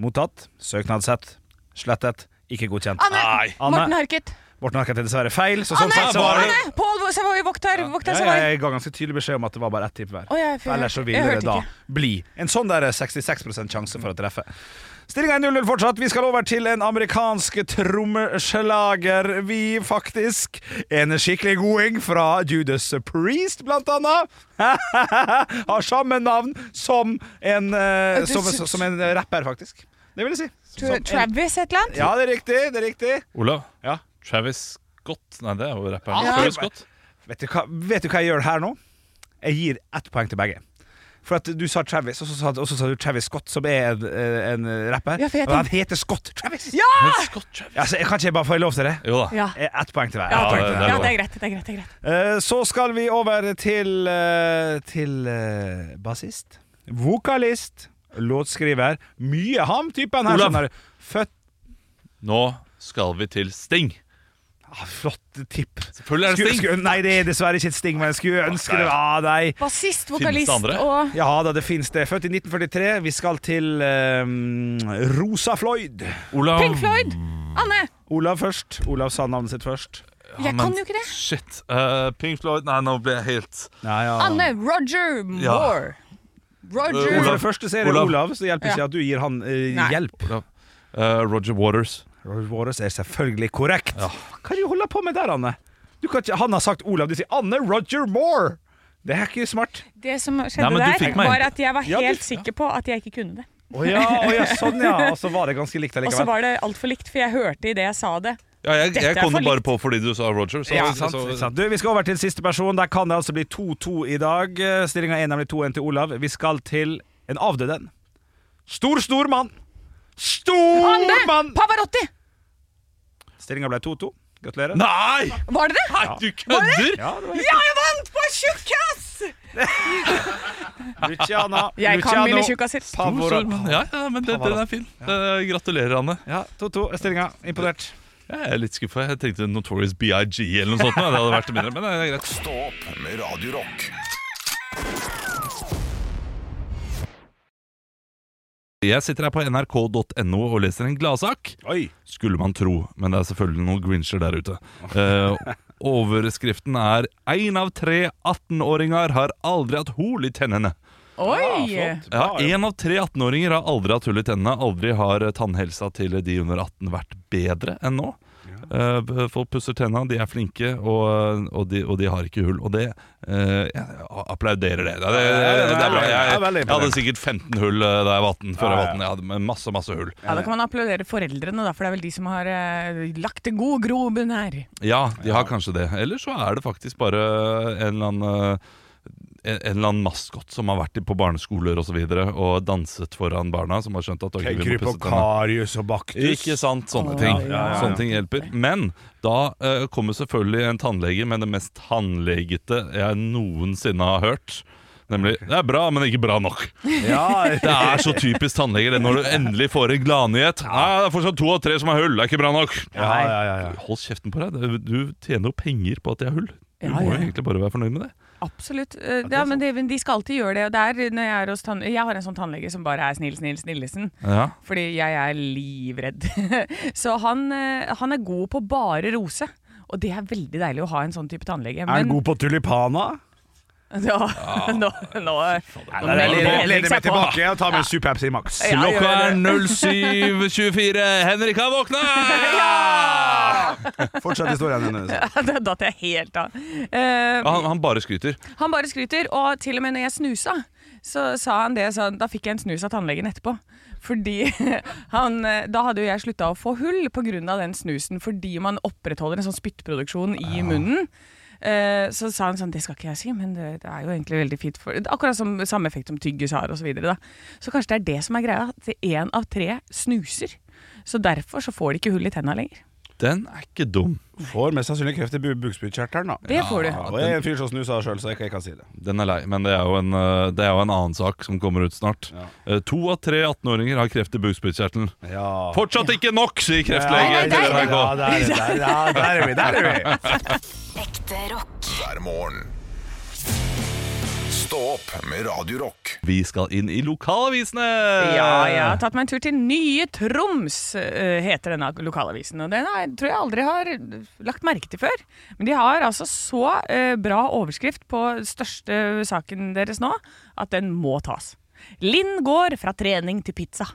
C: Mottatt. Søknadssett. Slettet. Ikke godkjent.
D: Anne.
B: Nei.
C: Ah, Anne.
D: Morten Harket.
C: Morten Harket er dessverre feil. Så
D: Å
C: sånn
D: nei,
C: sett så
D: Savoy!
C: var
D: Nei,
C: det
D: Pål Savoy, vokt her! Vokt
C: ja,
D: her,
C: jeg,
D: Savoy!
C: jeg ga ganske tydelig beskjed om at det var bare ett tipp hver.
D: Å, jeg-
C: For Ellers så ville
D: jeg
C: det
D: hørte
C: da
D: ikke.
C: bli en sånn der 66 sjanse for å treffe. Stillinga er 0-0 fortsatt. Vi skal over til en amerikansk trommeslager, vi, faktisk. En skikkelig goding fra Judas Priest, blant annet. [LAUGHS] Har samme navn som en, eh, som, som en rapper, faktisk. Det vil jeg si.
D: Tra- Travis et eller annet?
C: Ja, det er riktig. det er riktig
B: Olav.
C: Ja.
B: Travis Scott. Nei, det er jo rapperen.
C: Ja.
B: Travis Scott.
C: Vet du, hva, vet du hva jeg gjør her nå? Jeg gir ett poeng til begge. For at du sa Travis, og så sa, og så sa du Travis Scott, som er en, en rapper.
D: Ja, for jeg
C: og han heter Scott Travis!
D: Ja!
B: Travis Scott Travis.
C: Altså, jeg kan ikke jeg bare få lov til det?
B: Jo da.
D: Ja.
C: Eh, Ett poeng til hver.
D: Ja,
C: Ett poeng til
B: det er
D: ja,
B: lov.
D: det er greit. det er greit, det er greit.
C: hver. Eh, Så skal vi over til eh, Til eh, bassist. Vokalist. Låtskriver. Mye ham typen her.
B: Olav.
C: skjønner du. Født
B: Nå skal vi til Sting.
C: ah, Flott tipp.
B: Selvfølgelig er det
C: Skulle-
B: Sting.
C: skulle- nei, det er dessverre ikke et sting, men jeg skulle ønske det. Ah, nei.
D: Bassist,
B: det
D: vokalist
B: andre?
D: og
C: Ja da, det finnes det. Født i 1943. Vi skal til eh, Rosa Floyd.
B: Olav.
D: Pink Floyd! Anne!
C: Olav først. Olav sa navnet sitt først.
D: Jeg kan jo ikke det.
B: Shit. eh, Pink Floyd. Nei, nå ble jeg helt
C: Ja, ja.
D: Anne Roger
B: Ja.
D: Moore. Roger
C: For
B: Olav.
C: det første så er det
B: Olav.
C: Olav, så det hjelper ikke
D: Ja.
C: at du gir han eh,
D: Nei.
C: hjelp.
B: Olav. Eh, Roger Waters.
C: Roger Waters er selvfølgelig korrekt. Hva er det du holder på med der, Anne? Du kan ikke, han har sagt Olav, du sier Anne Roger Moore! Det er ikke smart.
D: Det som
B: Nei,
D: skjedde
B: men du
D: der,
B: fikk meg.
D: var at jeg var
C: Ja, du-
D: helt sikker på at jeg ikke kunne det.
C: Å ja, å ja, sånn ja. Og så var det ganske likt
D: Og så
C: allikevel.
D: var det altfor likt, for jeg hørte i det jeg sa det.
B: Ja, jeg,
D: Dette
B: jeg
D: er
B: kom
D: for
B: det bare på fordi du sa Roger. Så,
C: Ja,
B: så-
C: sant,
B: så-
C: sant. Du, vi skal over til siste person. Der kan det altså bli 2-2 i dag. Stillinga er nemlig 2-1 til Olav. Vi skal til en avdød en. Stor, stor mann. Stor
D: Anne!
C: mann!
D: Pavarotti!
C: Stillinga ble 2-2. Gratulerer.
B: Nei!
D: Var det det?
B: Du kødder!
C: Ja, det var
D: Ja, jeg vant på tjukkas!
C: Luciana.
D: [LAUGHS] Jeg kan
C: Luciano
D: mine tjukkaser.
C: Pavor-
B: Ja, ja, men det, den er fin. Eh, gratulerer, Anne.
C: Ja, 2-2 er stillinga. Imponert.
B: Jeg er litt skuffa. Jeg tenkte Notorious BIG eller noe sånt. men Det hadde vært det mindre, men det er greit.
A: Stå opp med Radio Rock.
B: Jeg sitter her på nrk.no og leser en gladsak.
C: Oi.
B: Skulle man tro, men det er selvfølgelig noen grincher der ute. Eh, overskriften er 'Én av tre 18-åringer har aldri hatt hull i tennene'.
D: Oi!
B: Ja, Én av tre 18-åringer har aldri hatt hull i tennene. Aldri har eh, tannhelsa til de under 18 vært bedre enn nå. Eh, b- folk pusser tenna, de er flinke, og, eh, og, de, og de har ikke hull. Og det eh, Jeg applauderer det. Det, det, det, er bra. Jeg,
C: Det er veldig
B: jeg hadde sikkert 15 hull eh, da jeg var 18. Før jeg var 18. Jeg hadde masse, masse hull.
D: Ja, Da kan man applaudere foreldrene, da, for det er vel de som har eh, lagt en god grobunn her.
B: Ja, de har kanskje det. Eller så er det faktisk bare en eller annen eh, en en eller annen maskot som har vært i- på barneskoler og, så videre, og danset foran barna, som har skjønt at «Oi, vi må
C: Gruppe
B: pusse tennene.
C: Karius og Baktus.
B: Ikke sant, sånne ting. Sånne ting hjelper. Men da eh, kommer selvfølgelig en tannlege med det mest tannlegete jeg noensinne har hørt. Nemlig 'det er bra, men ikke bra nok'.
C: Ja,
B: Det er så typisk tannleger det, når du endelig får en gladnyhet. Nei, det er fortsatt to av tre som har hull, det er ikke bra nok.
C: ja, ja, ja,
B: [LAUGHS]
C: ja.
B: Hold kjeften på deg. Det- Du tjener jo penger på at de har hull. Du
D: Ja,
B: må jo
D: ja.
B: egentlig bare være fornøyd med det.
D: Absolutt. Eh, ja, men de, de skal alltid gjøre det. Og det er når jeg, er hos tann jeg har en sånn tannlege som bare er snill, snill, snillesen.
B: Ja.
D: Fordi jeg er livredd. [LAUGHS] Så han, eh, han er god på bare rose. Og det er veldig deilig å ha en sånn type tannlege.
C: Er
D: [LAUGHS]
C: han god Ah. på tulipana?
D: Nå, nå, nå,
C: Nei,
D: nå lener Henrik
C: Lener meg
D: seg på. [LAUGHS]
C: tilbake og tar med en Super Pepsi Max.
D: Ja, gjør
B: Klokka er
D: det.
B: 07.24. Henrik har våkna!
C: Fortsett historien hennes.
D: Da datt jeg helt av. Eh,
B: Han, han bare skryter.
D: Han bare skryter, og til og med når jeg snusa, så sa han det sånn Da fikk jeg en snus av tannlegen etterpå. Fordi [LAUGHS] han eh, Da hadde jo jeg slutta å få hull pga. den snusen, fordi man opprettholder en sånn spyttproduksjon i munnen. Eh, Så sa han sånn Det skal ikke jeg si, men det, det er jo egentlig veldig fint for det er Akkurat som samme effekt som tyggis har, osv. Så, videre, da. så kanskje det er det som er greia. At én av tre snuser. Så derfor så får de ikke hull i tenna lenger.
B: Den er ikke dum.
C: Får mest sannsynlig kreft i bu- bukspyttkjertelen, da.
D: Det får du.
C: Ja, og jeg er en fyr som snuser sjøl, så jeg kan- jeg kan si det.
B: Den er lei, men det er jo en, eh, det er jo en annen sak som kommer ut snart. Eh, To av tre 18-åringer har kreft i bukspyttkjertelen.
C: Ja.
B: Fortsatt ikke nok, sier kreftlege.
C: Ja,
B: til
C: der,
B: NRK.
C: der, ja, der er vi. Der er vi.
A: hver morgen. Stå opp med Radio Rock.
B: Vi skal inn i lokalavisene!
D: Ja,
B: Eh, [LAUGHS]
D: jeg har tatt meg en tur til Nye Troms, eh, heter denne lokalavisen. Og den har, jeg- tror jeg aldri har lagt merke til før. Men de har altså så eh, bra overskrift på største saken deres nå, at den må tas. Linn går fra trening til pizza.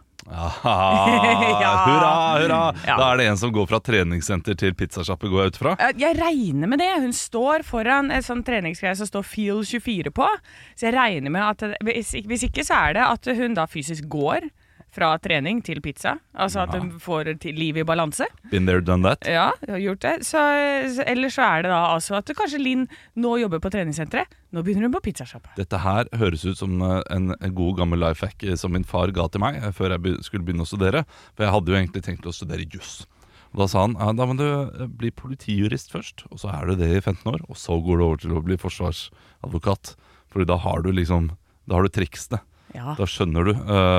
B: Aha,
D: Ja.
B: Hurra, hurra!
D: Ja.
B: Da er det en som går fra treningssenter til pizzasjappe, går jeg ut fra.
D: Eh, Jeg regner med det. Hun står foran en sånn treningsgreie som står Feel 24 på. Så jeg regner med at det- hvis ikke- Hvis ikke, så er det at hun da fysisk går fra trening til pizza. Altså at hun får til liv i balanse.
B: Been there, done that.
D: Ja, jeg har gjort det. Så, så, eller så er det da altså at kanskje Linn nå jobber på treningssenteret. Nå begynner hun på pizzasjappa.
B: Dette her høres ut som eh, en en god gammel life hack som min far ga til meg eh, før jeg be- skulle begynne å studere. For jeg hadde jo egentlig tenkt å studere juss. Og Da sa han ja, da må du eh, bli politijurist først, og så er du det i 15 år. Og så går du over til å bli forsvarsadvokat. Fordi da har du liksom Da har du triksene.
D: Ja.
B: Da skjønner du eh,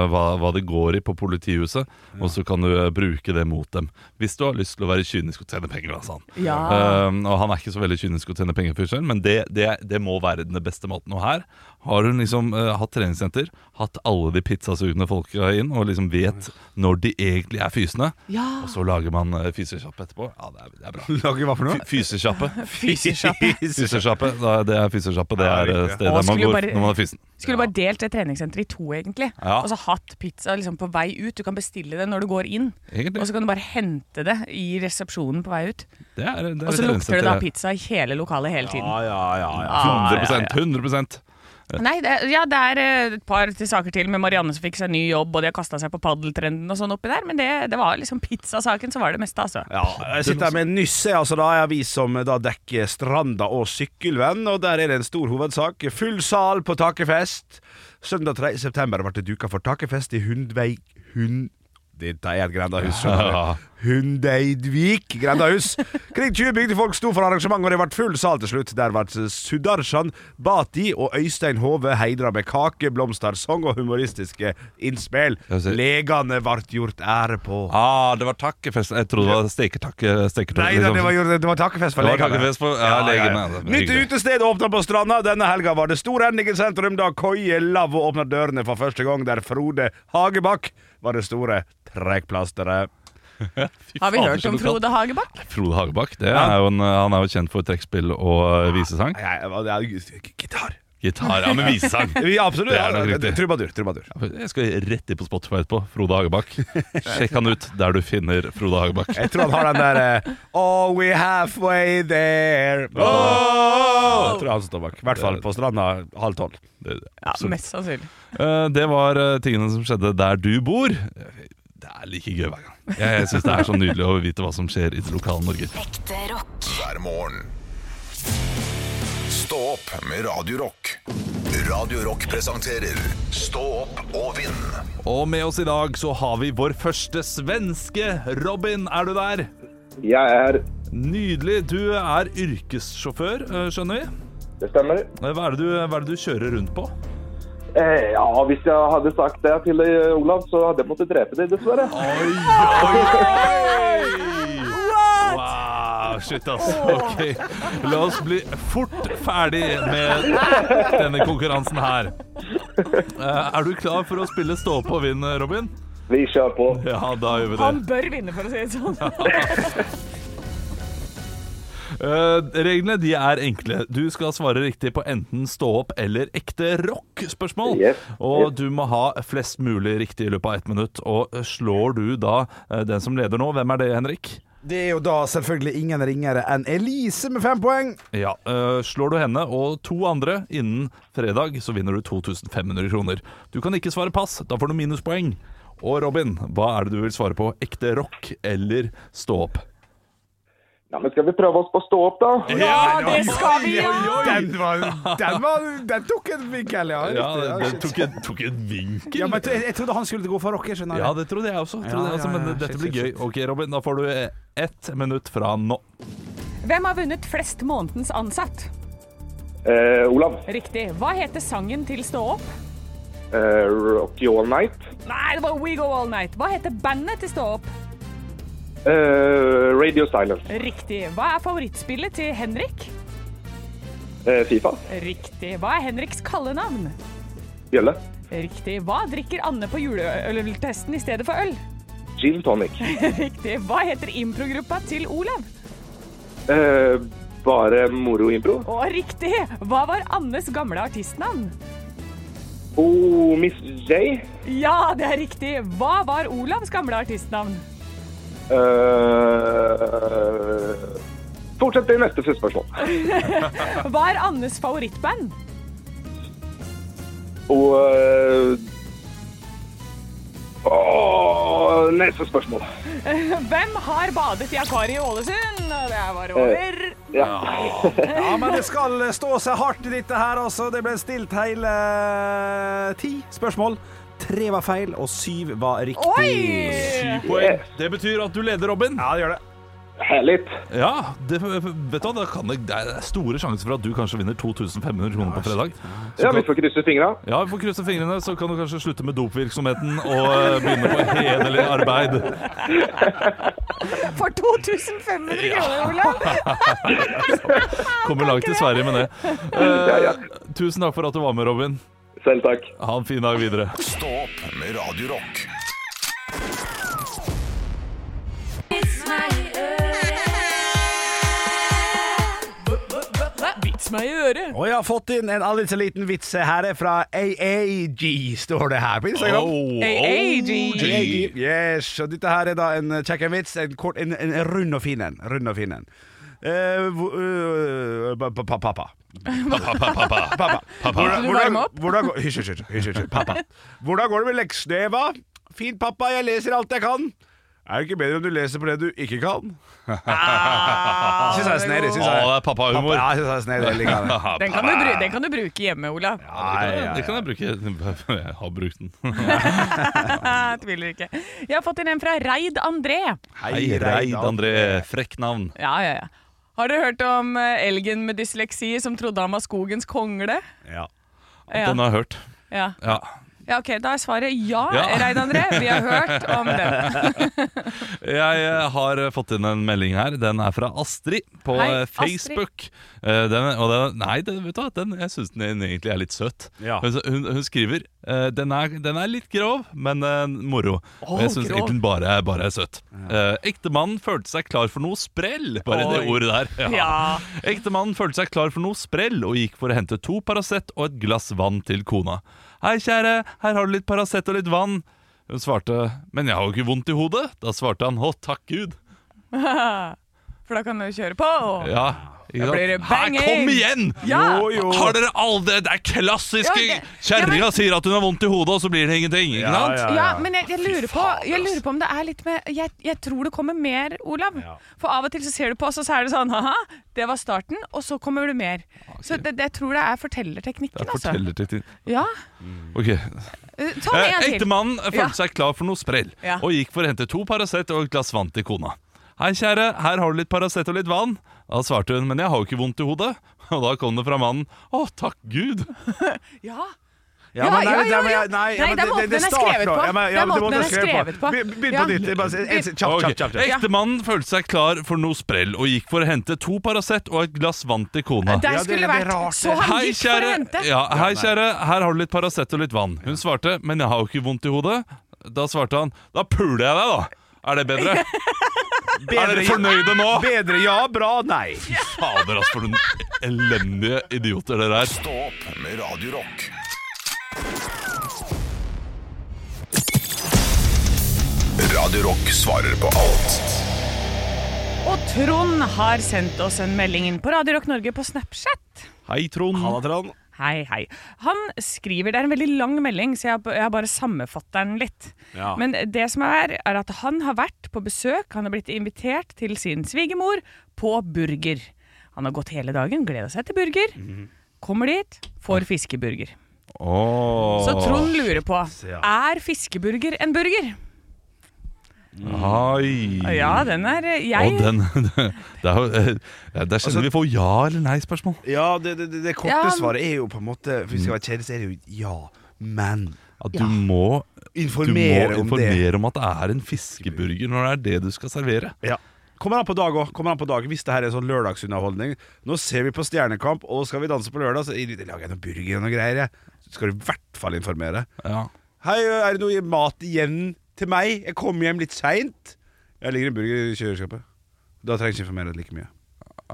B: hva, hva det går i på politihuset, og så kan du eh, bruke det mot dem. Hvis du har lyst til å være kynisk og tjene penger, da, sa han.
D: Ja.
B: Eh, og han er ikke så veldig kynisk og tjener penger for seg selv, men det, det, det må være den beste måten. Og her har hun liksom eh, hatt treningssenter, hatt alle de pizzasugende folka inn, og liksom vet når de egentlig er fysende.
D: Ja.
B: Og så lager man uh, fysekjappe etterpå. Ja, det er, det er bra.
C: [LAUGHS] [LAUGHS] Lager hva for noe?
D: [LAUGHS]
B: Fy- Fysekjappe.
D: Fysekjappe.
B: [LAUGHS] Fysekjappe. Da- Det er fysekjappe. Det
C: Ja,
B: er eh,
C: riktig.
B: stedet
D: Og
B: man
D: skulle
B: går
D: bare-
B: når man er fysen.
D: Skulle bare delt det treningssenteret i to, egentlig.
B: Ja.
D: Og så hatt pizza liksom på vei ut. Du kan bestille det når du går inn.
B: Egentlig.
D: Og så kan du bare hente det i resepsjonen på vei ut.
B: Det er, det er
D: Og så
B: et
D: lukter det da
B: treningssenter.
D: pizza i hele lokalet hele tiden.
C: ja, ja, ja.
B: 100 100
D: Nei, det, er- ja, det er eh, et par til saker til med Marianne som fikk seg ny jobb, og de har kasta seg på paddeltrenden og sånn oppi der, men det, det var liksom pizzasaken som var det meste, altså.
C: Ja, jeg sitter her med Nysse, altså da er avis som da dekker Stranda og Sykkylven, og der er det en stor hovedsak. Full sal på takefest. Søndag 3. september ble det duka for takefest i Hundvei... Hund... Dette er et grendahus, skjønner du. Hundeidvik grendahus. Kring 20 bygdefolk sto for arrangementet, og det ble full sal til slutt. Der ble eh, Sudarshan Bati og Øystein Hove heidra med kake, blomster, sang og humoristiske innspill.
B: Jeg ser-
C: Legene ble gjort ære på.
B: Ah, det var takkefest. Jeg trodde det var eh, steketakke. steketakke
C: Nei, da, det, var, jo- det var takkefest for
B: Liksom. Det var
C: legene.
B: takkefest for- ja, altså. legene, ja, det var
C: Nytt
B: hyggelig.
C: utested åpna på Stranda. Denne helga var det storhending i sentrum da Koie Lavvo åpna dørene for første gang, der Frode Hagebakk var det store trekkplasteret.
D: Har vi hørt om Frode Hagebakk?
B: Frode Hagebakk? Det er jo en, eh, han er jo kjent for trekkspill og eh, visesang.
C: Nei, jeg- jeg- jeg- Gitar.
B: Gitar, ja, men visesang.
C: Ja, absolutt.
B: Det er nok
C: ja,
B: riktig.
C: Trubadur. trubadur.
B: Jeg skal rett inn på Spotify etterpå. Frode Hagebakk. Sjekk han ut der du finner Frode Hagebakk.
C: Jeg tror han har den der eh, Oh, we halfway there. Oh! Jeg tror han står bak. I hvert fall på Stranda halv tolv.
B: Det,
D: Ja,
B: absolutt.
D: mest sannsynlig.
B: Eh, det var eh, tingene som skjedde der du bor. Det er like gøy hver gang. Jeg, jeg syns det er så nydelig å vite hva som skjer i det lokale Norge.
A: hver morgen. Stå opp med Radio Rock. Radio Rock presenterer Stå opp og vinn.
B: Og med oss i dag så har vi vår første svenske. Robin, er du der?
H: Jeg er
B: Nydelig. Du er yrkessjåfør, eh, skjønner vi.
H: Det stemmer.
B: Eh, Hva er det du, hva er det du kjører rundt på?
H: Eh, ja, hvis jeg hadde sagt det til deg, Olav, så hadde jeg måttet drepe deg, dessverre.
B: Oi, oi, oi! Wow, shit, ass. Ok, la oss bli fort ferdig med denne konkurransen her. Eh, Er du klar for å spille stå på og vinn, Robin?
H: Vi kjører på.
B: Ja, da gjør vi det.
D: Han bør vinne, for å si det sånn.
B: Eh, reglene de er enkle. Du skal svare riktig på enten stå opp eller ekte rock-spørsmål.
H: Yes.
B: Og
H: Yes.
B: du må ha flest mulig riktig i løpet av ett minutt. Og slår du da eh, den som leder nå, hvem er det, Henrik?
C: Det er jo da selvfølgelig ingen ringere enn Elise med fem poeng.
B: Ja, eh, Slår du henne og to andre innen fredag, så vinner du 2500 kroner. Du kan ikke svare pass, da får du minuspoeng. Og Robin, hva er det du vil svare på? Ekte rock eller stå opp?
H: Ja, men skal vi prøve oss på å stå opp, da?
D: Ja, det skal vi gjøre!
C: Den, var, den, var, den tok en vinkel, ja.
B: [LAUGHS] Ja,
C: Riktig,
B: det
C: shit.
B: tok en, tok en vinkel.
C: Ja, men jeg, jeg trodde han skulle gå for rocker, skjønner
B: Ja,
C: du.
B: det trodde jeg også. Trodde
C: Ja,
B: jeg også
C: ja,
B: men
C: ja,
B: dette
C: shit,
B: blir
C: shit,
B: gøy.
C: shit.
B: Ok, Robin, da får du eh, ett minutt fra nå.
D: Hvem har vunnet flest månedens ansatt?
H: Eh, Olav,
D: Riktig. Hva heter sangen til Stå opp?
H: eh, Rock You All Night.
D: Nei, det var We Go All Night. Hva heter bandet til Stå opp?
H: Eh, Radio Silence.
D: Riktig. Hva er favorittspillet til Henrik?
H: Eh, Fifa.
D: Riktig. Hva er Henriks kallenavn?
H: Bjelle.
D: Riktig. Hva drikker Anne på juleøltesten i stedet for øl?
H: Gin tonic.
D: Riktig. Hva heter improgruppa til Olav?
H: Eh, bare moro impro.
D: Og riktig! Hva var Annes gamle artistnavn?
H: Oh, Miss J.
D: Ja, det er riktig! Hva var Olavs gamle artistnavn?
H: Eh, fortsett til neste spørsmål.
D: Hva er Annes favorittband?
H: Og eh, Åh, neste spørsmål.
D: Hvem har badet i akvariet i Ålesund? Og Det var over.
H: Ja.
C: Ja, men det skal stå seg hardt i dette her, altså. Det ble stilt hele eh, ti spørsmål. Tre var feil, og syv var riktig.
D: Oi!
B: Syv poeng. Det betyr at du leder, Robin.
C: Ja, det gjør det.
H: Herlig.
B: Ja, det, vet du, hva, det, kan, det er store sjanser for at du kanskje vinner 2500 kroner på fredag. Så
H: Ja,
B: kan-
H: vi får krysse fingra.
B: Ja, vi får krysse fingrene, så kan du kanskje slutte med dopvirksomheten og eh, begynne på hederlig arbeid.
D: For 2500 kroner, Olav!
B: Kommer langt i Sverige med det.
H: Ja, ja.
B: Eh, tusen takk for at du var med, Robin.
H: Selv takk.
B: Ha en fin dag videre.
A: Stå opp med Radio Rock.
D: Vits meg i øret!
C: Og jeg har fått inn en aldri så liten vits her er fra AAG, står det her på Instagram.
D: AAG.
C: Yes, og dette her er da en kjekkenvits. En, kort- en, en rund og fin en. Rund og fin en. Eh, hvor- eh, pa- pa- pa- Pappa. Pappa. Hvordan-
D: du
C: hvordan-
D: varme opp?
C: hvordan går- Hysj, hysj, hysj, hysj. hysj, Pappa. Hvordan går det med leksene, Eva? Fint, pappa. Jeg leser alt jeg kan. Er det ikke bedre om du leser på det du ikke kan? Ah, synes jeg er snedig. Synes
B: Å,
C: jeg.
B: det er
C: Pappa,
B: pappahumor.
C: ja, synes jeg er snedig. Jeg liker det.
D: Den kan, du bru- den kan du bruke hjemme, Olav.
C: Ja, ja,
B: Det
C: ja.
B: kan jeg bruke. [LAUGHS] Jeg har brukt den.
D: Jeg tviler ikke. Jeg har fått inn en fra Reid André.
B: Hei, Reid André. Frekk navn.
D: Ja, ja, ja. Har dere hørt om eh, elgen med dysleksi som trodde han var skogens kongle?
C: Ja.
D: Ja.
B: Den har jeg hørt.
D: Ja,
B: Ja.
D: ja ok, da er svaret ja,
B: Ja.
D: Reid André. Vi har hørt om den.
B: Jeg eh, har eh, fått inn en melding her. Den er fra Astrid på
D: Hei,
B: eh, Facebook. Eh, Den, og den, nei, den, vet du hva? Den, jeg syns den egentlig er litt søt.
C: Ja.
B: Hun, hun, hun skriver eh, den er, den er litt grov, men eh, moro. og jeg syns
D: grov.
B: egentlig den bare, er- bare er søt. Eh, Ektemannen følte seg klar for noe sprell. Bare det ordet der.
D: Ja.
B: Ektemannen følte seg klar for noe sprell og gikk for å hente to Paracet og et glass vann til kona. Hei, kjære, her har du litt Paracet og litt vann. Hun svarte, men jeg har jo ikke vondt i hodet. Da svarte han, å takk Gud.
D: For da kan du kjøre på.
B: Ja, ikke
D: Da blir det
B: sant? Her,
D: banging!
B: kom igjen!
D: Ja.
C: Jo, jo.
B: Har dere aldri Det er klassiske
D: Ja, det-
B: Kjerringa
D: ja, men-
B: sier at hun har vondt i hodet, og så blir det ingenting. Ikke
C: ja,
B: sant?
D: Ja, men jeg, jeg, lurer på, jeg lurer på om det er litt med Jeg, jeg tror det kommer mer, Olav. For av og til så ser du på oss, og så er det sånn Haha, det var starten, og så kommer det mer. Så det, det, jeg tror det er fortellerteknikken, altså.
B: Fortellerteknikk.
D: Ja.
B: Ok.
D: Eh, Ta
B: Eh,
D: med en til.
B: Ektemannen
D: Ja.
B: følte seg klar for noe sprell,
D: Ja.
B: og gikk for å hente to Paracet og et glass vann til kona. Hei, kjære, her har du litt Paracet og litt vann. Da svarte hun, men jeg har jo ikke vondt i hodet. [LAUGHS] Og da kom det fra mannen, å takk Gud.
D: Ja.
C: Ja, men
D: Ja,
C: nei,
D: ja,
C: det-
D: ja, ja.
C: Nei, ja,
D: Nei,
C: men
D: det er måten den er
C: starter
D: skrevet
C: nå.
D: på.
C: Ja, men,
D: Det
C: ja, men det
D: er måten
C: måten
D: den er skrevet på.
C: Be- Begynn
D: Ja.
C: på nytt. Bare si-
D: Begynn.
C: Kjapt,
B: Ok.
C: kjapt, kjapt.
D: Ja.
B: Ektemannen følte seg klar for noe sprell og gikk for å hente to Paracet og et glass vann til kona.
D: Der
C: Ja, det-
D: skulle
C: det er
D: det
C: rart,
D: vært. Så han
B: Hei
D: gikk for å
B: kjære.
D: hente.
B: Ja, hei, kjære, her har du litt Paracet og litt vann. Hun svarte, men jeg har jo ikke vondt i hodet. Da svarte han, da puler jeg deg, da. Er det
D: [LAUGHS]
B: bedre? Er dere fornøyde nå?
C: Bedre ja, bra nei.
B: Fader, altså, for noen elendige idioter dere er.
A: Stå opp med Radio Rock. Radio Rock svarer på alt.
D: Og Trond har sendt oss en melding inn på Radio Rock Norge på Snapchat.
B: Hei, Trond.
D: Hei, hei. Han skriver, det er en veldig lang melding, så jeg, har- jeg har bare sammenfattet den litt. Men det som er, er at han har vært på besøk, han har blitt invitert til sin svigermor på burger. Han har gått hele dagen, gleda seg til burger.
C: Mhm.
D: Kommer dit, får fiskeburger. Så Trond lurer på, er fiskeburger en burger?
C: Mm.
B: Hei.
D: Ja, den er eh, jeg.
B: Og den, [LAUGHS] det er jo eh, Der
C: Altså-
B: kjenner vi får ja eller nei-spørsmål.
C: Ja, det, det, det, det korte
D: Ja, men-
C: svaret er jo på en måte Hvis vi skal være kjedelig, så er det jo ja, men
B: At du må du må
C: Informere om det.
B: informere om at det er en fiskeburger når det er det du skal servere.
C: Ja. Kommer an på dag òg. Kommer an på dag Hvis det her er sånn lørdagsunderholdning Nå ser vi på Stjernekamp, og skal vi danse på lørdag, så lager jeg noen burger og noe greier. Jeg. Så skal du i hvert fall informere.
B: Ja.
C: Hei, er det noe mat igjen til meg? Jeg kom hjem litt seint. Jeg ligger en burger i kjøleskapet. Da trenger jeg ikke informere like mye.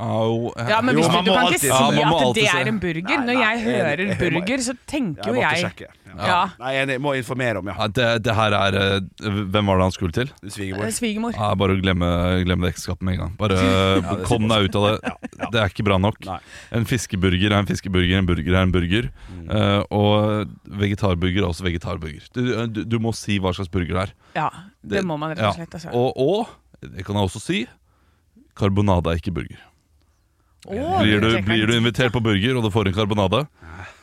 B: Au.
D: Ja, men hvis
C: Jo,
D: du,
C: man
D: du
C: må
D: kan
C: alltid-
D: ikke si
C: ja,
B: man må
D: at det
B: alltid si-
D: er en burger.
C: Nei,
D: Når
C: nei,
D: jeg
C: jeg-
D: hører
C: jeg-
D: burger, så tenker
C: Jeg
D: jo
C: måtte
D: jeg
C: sjekke. Ja.
D: Ja.
C: Nei, jeg må informere om, ja.
B: Ja, det, det her er eh, Hvem var det han skulle til?
C: Svigermor.
D: Eh, Svigermor.
B: Ja, bare å glemme, glemme det ekteskapet med en gang.
C: [LAUGHS]
B: Bare
C: det
B: Kom deg ut av det. Det er ikke bra nok.
C: Nei.
B: En fiskeburger er en fiskeburger, en burger er en burger.
C: Mm.
B: Eh, og vegetarburger er også vegetarburger. Du, eh, du, du må si hva slags burger det er.
D: Ja, det må man rett og slett. Altså.
B: Og, og, det kan jeg også si, karbonade er ikke burger.
D: Å,
B: Blir du,
D: tenker
B: blir du
D: jeg.
B: invitert på burger og du får en karbonade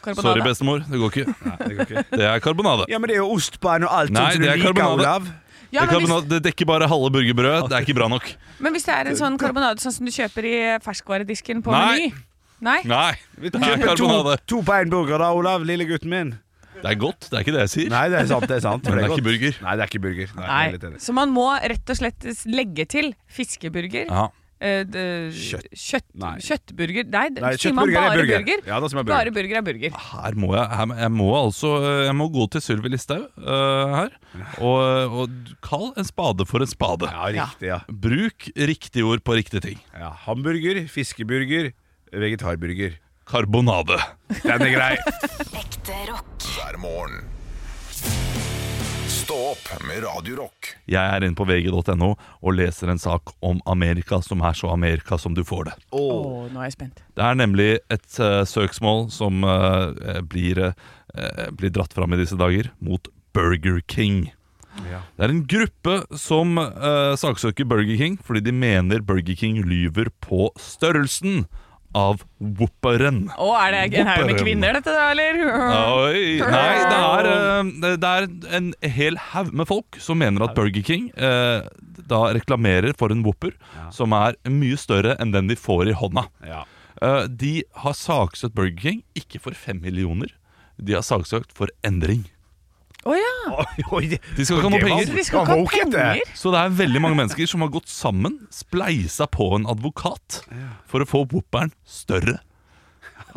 D: Karbonade.
B: Sorry, bestemor, det går ikke.
C: Det går ikke.
B: [LAUGHS] Det er karbonade.
C: Ja, men det er jo ost på en og alt
B: Nei,
C: sånn som
B: det
C: du
B: er
C: liker,
B: karbonade.
C: Olav.
D: Ja,
B: det,
D: men, hvis,
B: karbonade det dekker bare halve burgerbrødet. Det er ikke bra nok.
D: men hvis det er en sånn karbonade sånn som du kjøper i ferskvaredisken på
B: Nei.
D: Meny Nei?
B: Nei, det er
C: Kjøper to,
B: karbonade.
C: to på en burger da, Olav, lille gutten min.
B: Det er godt, det er ikke det jeg sier.
C: Nei, det er sant. det er sant for
B: Men det er
C: godt.
B: ikke burger.
C: Nei, det er ikke burger. Nei, jeg er litt
D: Nei.
C: enig.
D: Så man må rett og slett legge til fiskeburger.
B: Ja.
D: eh, d-
C: Kjøtt.
D: Kjøtt,
C: Nei.
D: Kjøttburger. Nei, d-
C: Nei,
D: sier man
C: kjøttburger er
D: bare
C: burger.
D: burger.
C: Ja, da sier man burger.
D: Bare burger er burger.
B: Her må jeg, her, jeg må altså Jeg må gå til Sylvi Listhaug eh, her. Og, og kall en spade for en spade.
C: Ja, riktig, ja.
B: Bruk riktige ord på riktige ting.
C: ja. Hamburger, fiskeburger, vegetarburger.
B: Karbonade.
C: Den er grei.
I: Ekte rock.
A: hver morgen. Stå opp med Radio Rock.
B: Jeg er inne på vg.no og leser en sak om Amerika som er så Amerika som du får det.
D: Å, nå er jeg spent.
B: Det er nemlig et eh, søksmål som eh, blir, eh, blir dratt fram i disse dager, mot Burger King. Det er en gruppe som eh, saksøker Burger King fordi de mener Burger King lyver på størrelsen av Whooperen.
D: Å, er det en haug med
B: Whooperen.
D: kvinner, dette da, eller?
B: Oi, nei, det er, eh, det- det er en hel haug med folk som mener at Burger King eh, da reklamerer for en Whopper som er mye større enn den de får i hånda.
C: Ja.
B: Eh, de har saksøkt Burger King ikke for fem millioner, de har saksøkt for endring.
D: Å ja!
C: Oi, oi, det-
B: De skal ikke ha noe
C: Det var-
B: penger.
D: De skal ikke
C: Ja,
D: ha
C: woke, det.
D: penger!
B: Så det er veldig mange mennesker som har gått sammen, spleisa på en advokat, for å få Whopperen større.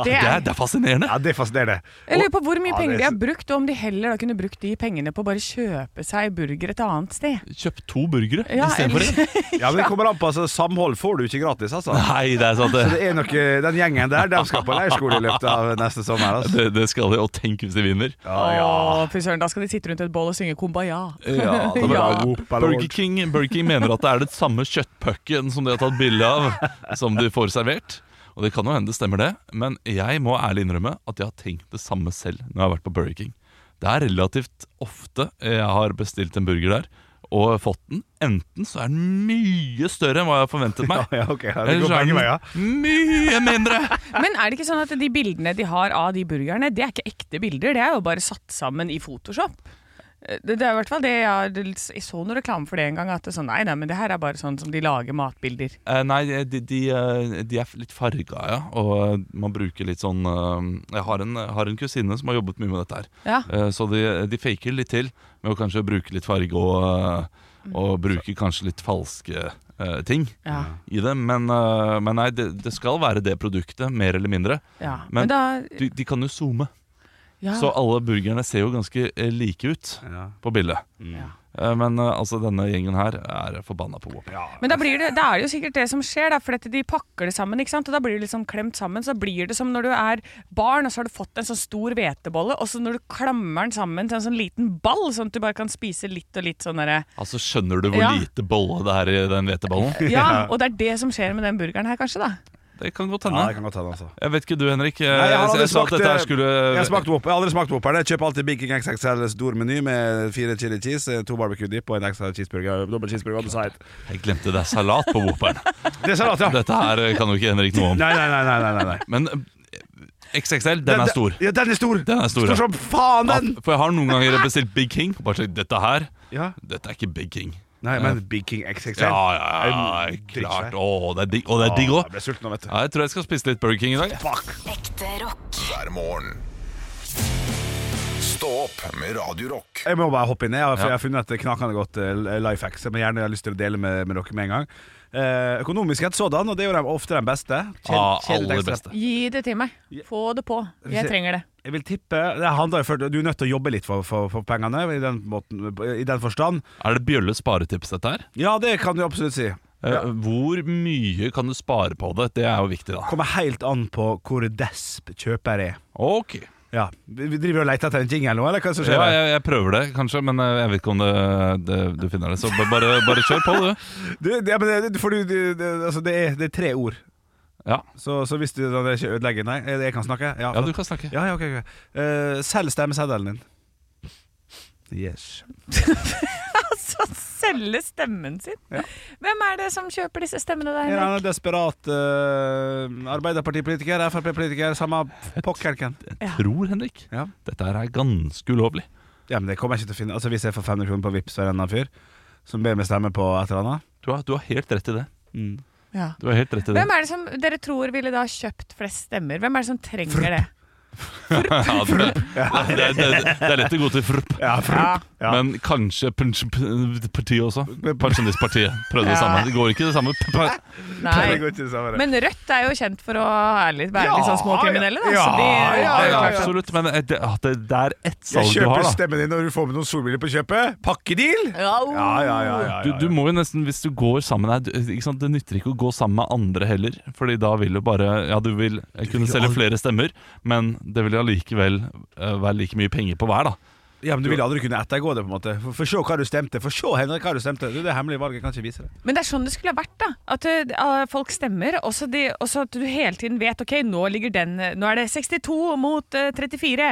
B: Det er, det er fascinerende.
C: Ja, det fascinerer.
D: Jeg lurer på hvor mye
C: Ja,
D: penger
C: det-
D: de har brukt, og om de heller da kunne brukt de pengene på å bare kjøpe seg burger et annet sted.
B: Kjøp to burgere
D: Ja,
B: istedenfor
D: eller-
B: én.
C: Ja, men det kommer an på, altså, Samhold får du ikke gratis, altså.
B: Nei, det er sånn sant, det.
C: Så det er nok, eh, Den gjengen der de skal på leirskole i løpet av neste sommer. Altså.
B: Det, det skal de, og tenk hvis de vinner.
C: Ja,
D: Å, fy søren, da skal de sitte rundt et bål og synge Kumbaya.
B: Ja, det er bra.
D: [LAUGHS]
C: Ja.
B: Burger, King, Burger King mener at det er det samme kjøttpucken som de har tatt bilde av, som de får servert. Og det kan jo hende det stemmer det, men jeg må ærlig innrømme at jeg har tenkt det samme selv når jeg har vært på Burger King. Det er relativt ofte jeg har bestilt en burger der og fått den. Enten så er den mye større enn hva jeg har forventet meg,
C: Ja, ok, [LAUGHS] ja, det
B: eller
C: går
B: så er
C: begge veier.
B: den mye mindre.
D: Men er det ikke sånn at de bildene de har av de burgerne, det er ikke ekte bilder, det er jo bare satt sammen i Photoshop? Det, det er i hvert fall det jeg, har- jeg så noen reklame for det en gang, at det er sånn, nei, nei, men det her er bare sånn som de lager matbilder.
B: Eh, nei, de, de, eh, de er litt farga, ja. Og eh, man bruker litt sånn eh, Jeg har en, har en kusine som har jobbet mye med dette her.
D: Ja.
B: Eh, Så de, de faker litt til med å kanskje bruke litt farge og, eh, og bruke kanskje litt falske eh, ting
D: Mm. Ja,
B: i det. Men, eh, men nei, det, det skal være det produktet, mer eller mindre.
D: ja. Men,
B: Men
D: da
B: De, de kan jo zoome,
D: ja.
B: så alle burgerne ser jo ganske eh, like ut
C: Ja.
B: på bildet.
D: Ja.
B: Eh, Men eh, altså, denne gjengen her er forbanna på Whopper.
D: Men da, blir det, da er det jo sikkert det som skjer, da, for at de pakker det sammen. ikke sant? Og Da blir det liksom klemt sammen. Så da blir det som når du er barn, og så har du fått en sånn stor hvetebolle, og så når du klammer den sammen til en sånn liten ball, sånn at du bare kan spise litt og litt sånn derre
B: Altså, skjønner du hvor
D: Ja.
B: lite bolle det er i den hveteballen?
D: Ja, og det er det som skjer med den burgeren her, kanskje, da.
B: Det kan godt
C: Ja,
B: hende.
C: det kan godt hende, altså.
B: jeg vet ikke du, Henrik.
C: Nei, jeg har aldri
B: sa at
C: smakt,
B: dette her
C: eh,
B: skulle
C: Jeg har, smakt Whopper. jeg har aldri smakt Whopper. Jeg kjøper alltid Big King XXL stor meny med fire chili cheese, eh, to barbecue dip og en ekstra cheeseburger. eh, Dobbel cheeseburger on the side.
B: Jeg glemte det er salat
C: [LAUGHS]
B: på Whopperen.
C: Det er salat, ja.
B: Dette her eh, kan jo ikke Henrik noe om.
C: Nei, nei, nei. nei, nei, nei.
B: Men eh, XXL, den er stor.
C: Ja, den er stor.
B: Den er stor, ja.
C: som faen,
B: Ja,
C: den!
B: For jeg har noen ganger bestilt Big King. og Bare sagt, dette her
C: Ja.
B: Dette er ikke Big King.
C: Nei, men Big King XXL.
B: Ja, ja, ja, ja klart. Å, det er digg. Og det er digg
C: Å,
B: òg.
C: Jeg ble sulten nå, vet du.
B: Ja, jeg tror jeg skal spise litt Burger King i dag.
I: Ekte rock.
A: hver morgen. Stå opp med Radio Rock
C: Jeg må bare hoppe inn. Jeg har,
B: Ja.
C: eh, jeg har funnet et knakende godt life hack som jeg gjerne har lyst til å dele med, med dere med en gang. eh, økonomisk et sådan, og det er jo de- ofte de beste. Kjed-
B: Ah,
C: kjedetekster.
B: aller beste.
D: Gi det til meg. Få det på. Jeg trenger det. [LAUGHS]
C: Jeg vil tippe det handler, jo for, Du er nødt til å jobbe litt for, for, for pengene, i den, måten, i den forstand.
B: Er det Bjølle sparetips, dette her?
C: Ja, det kan du absolutt si.
B: Eh, Hvor mye kan du spare på det? Det er jo viktig, da.
C: Kommer helt an på hvor desp kjøper er.
B: Ok
C: Ja, Vi vi driver og leter etter en jingle nå, eller hva er det som skjer?
B: Ja, jeg, jeg prøver det, kanskje, men eh, jeg vet ikke om det, det, du finner det. Så ba- bare, bare kjør på, [LAUGHS] du.
C: Du, ja, men det, for du, du, det, altså, det, er, det er tre ord,
B: Ja,
C: så, så hvis du da, det er ikke ødelegger Nei, jeg jeg kan snakke? Ja,
B: ja du kan snakke.
C: ja, ja, ok, ok. Eh, Selg stemmeseddelen din. Yes.
D: Så selge stemmen sin. Hvem er det som kjøper disse stemmene der?
C: En eller
D: Henrik?
C: annen desperat eh, Arbeiderpartipolitiker, Frp-politiker, samme pokkerken.
B: Jeg tror, Henrik,
C: Ja.
B: dette her er ganske ulovlig.
C: Ja, men det kommer jeg ikke til å finne Altså Hvis jeg får 500 kroner på Vipps fra en eller annen fyr som ber meg stemme på et eller annet
B: Du har, du har helt rett i det.
D: Ja.
B: Du har helt rett i det.
D: Hvem er det som dere tror ville da kjøpt flest stemmer? Hvem er det som trenger det?
B: [LAUGHS] [LAUGHS] Ja, det, det, det, det, det er lett å gå til frupp.
C: Ja, Ja.
B: [LAUGHS] Men kanskje pens- p- partiet også. Pensjonistpartiet prøvde det samme. Det går ikke det samme. P- p-
C: Det
D: Nei.
C: går ikke sammen.
D: Men Rødt er jo kjent for å være litt, være litt sånn småkriminelle, da.
C: Ja,
D: så de,
C: ja, ja, ja.
B: Absolutt, men eh, det, at det, det er ett
C: jeg
B: salg du
C: kjøper
B: har, da.
C: stemmen din når du får med noen solbriller på kjøpet. Pakkedeal!
D: Au.
C: Ja, ja, ja, ja,
B: Du,
C: ja.
B: du må jo nesten, hvis du går sammen her du- ikke sant? Det nytter ikke å gå sammen med andre heller. Fordi da vil du bare Ja, du vil eh, kunne selge flere stemmer, men det vil allikevel eh, være like mye penger på hver, da.
C: ja, men du vil aldri kunne ettergå det, på en måte. For, for se hva du stemte. For se, Henrik, hva du stemte. Du, det hemmelige valget jeg kan ikke vise det.
D: Men det er sånn det skulle ha vært, da. At eh, folk stemmer, og så de- og så at du hele tiden vet OK, nå ligger den Nå er det 62 mot eh, 34.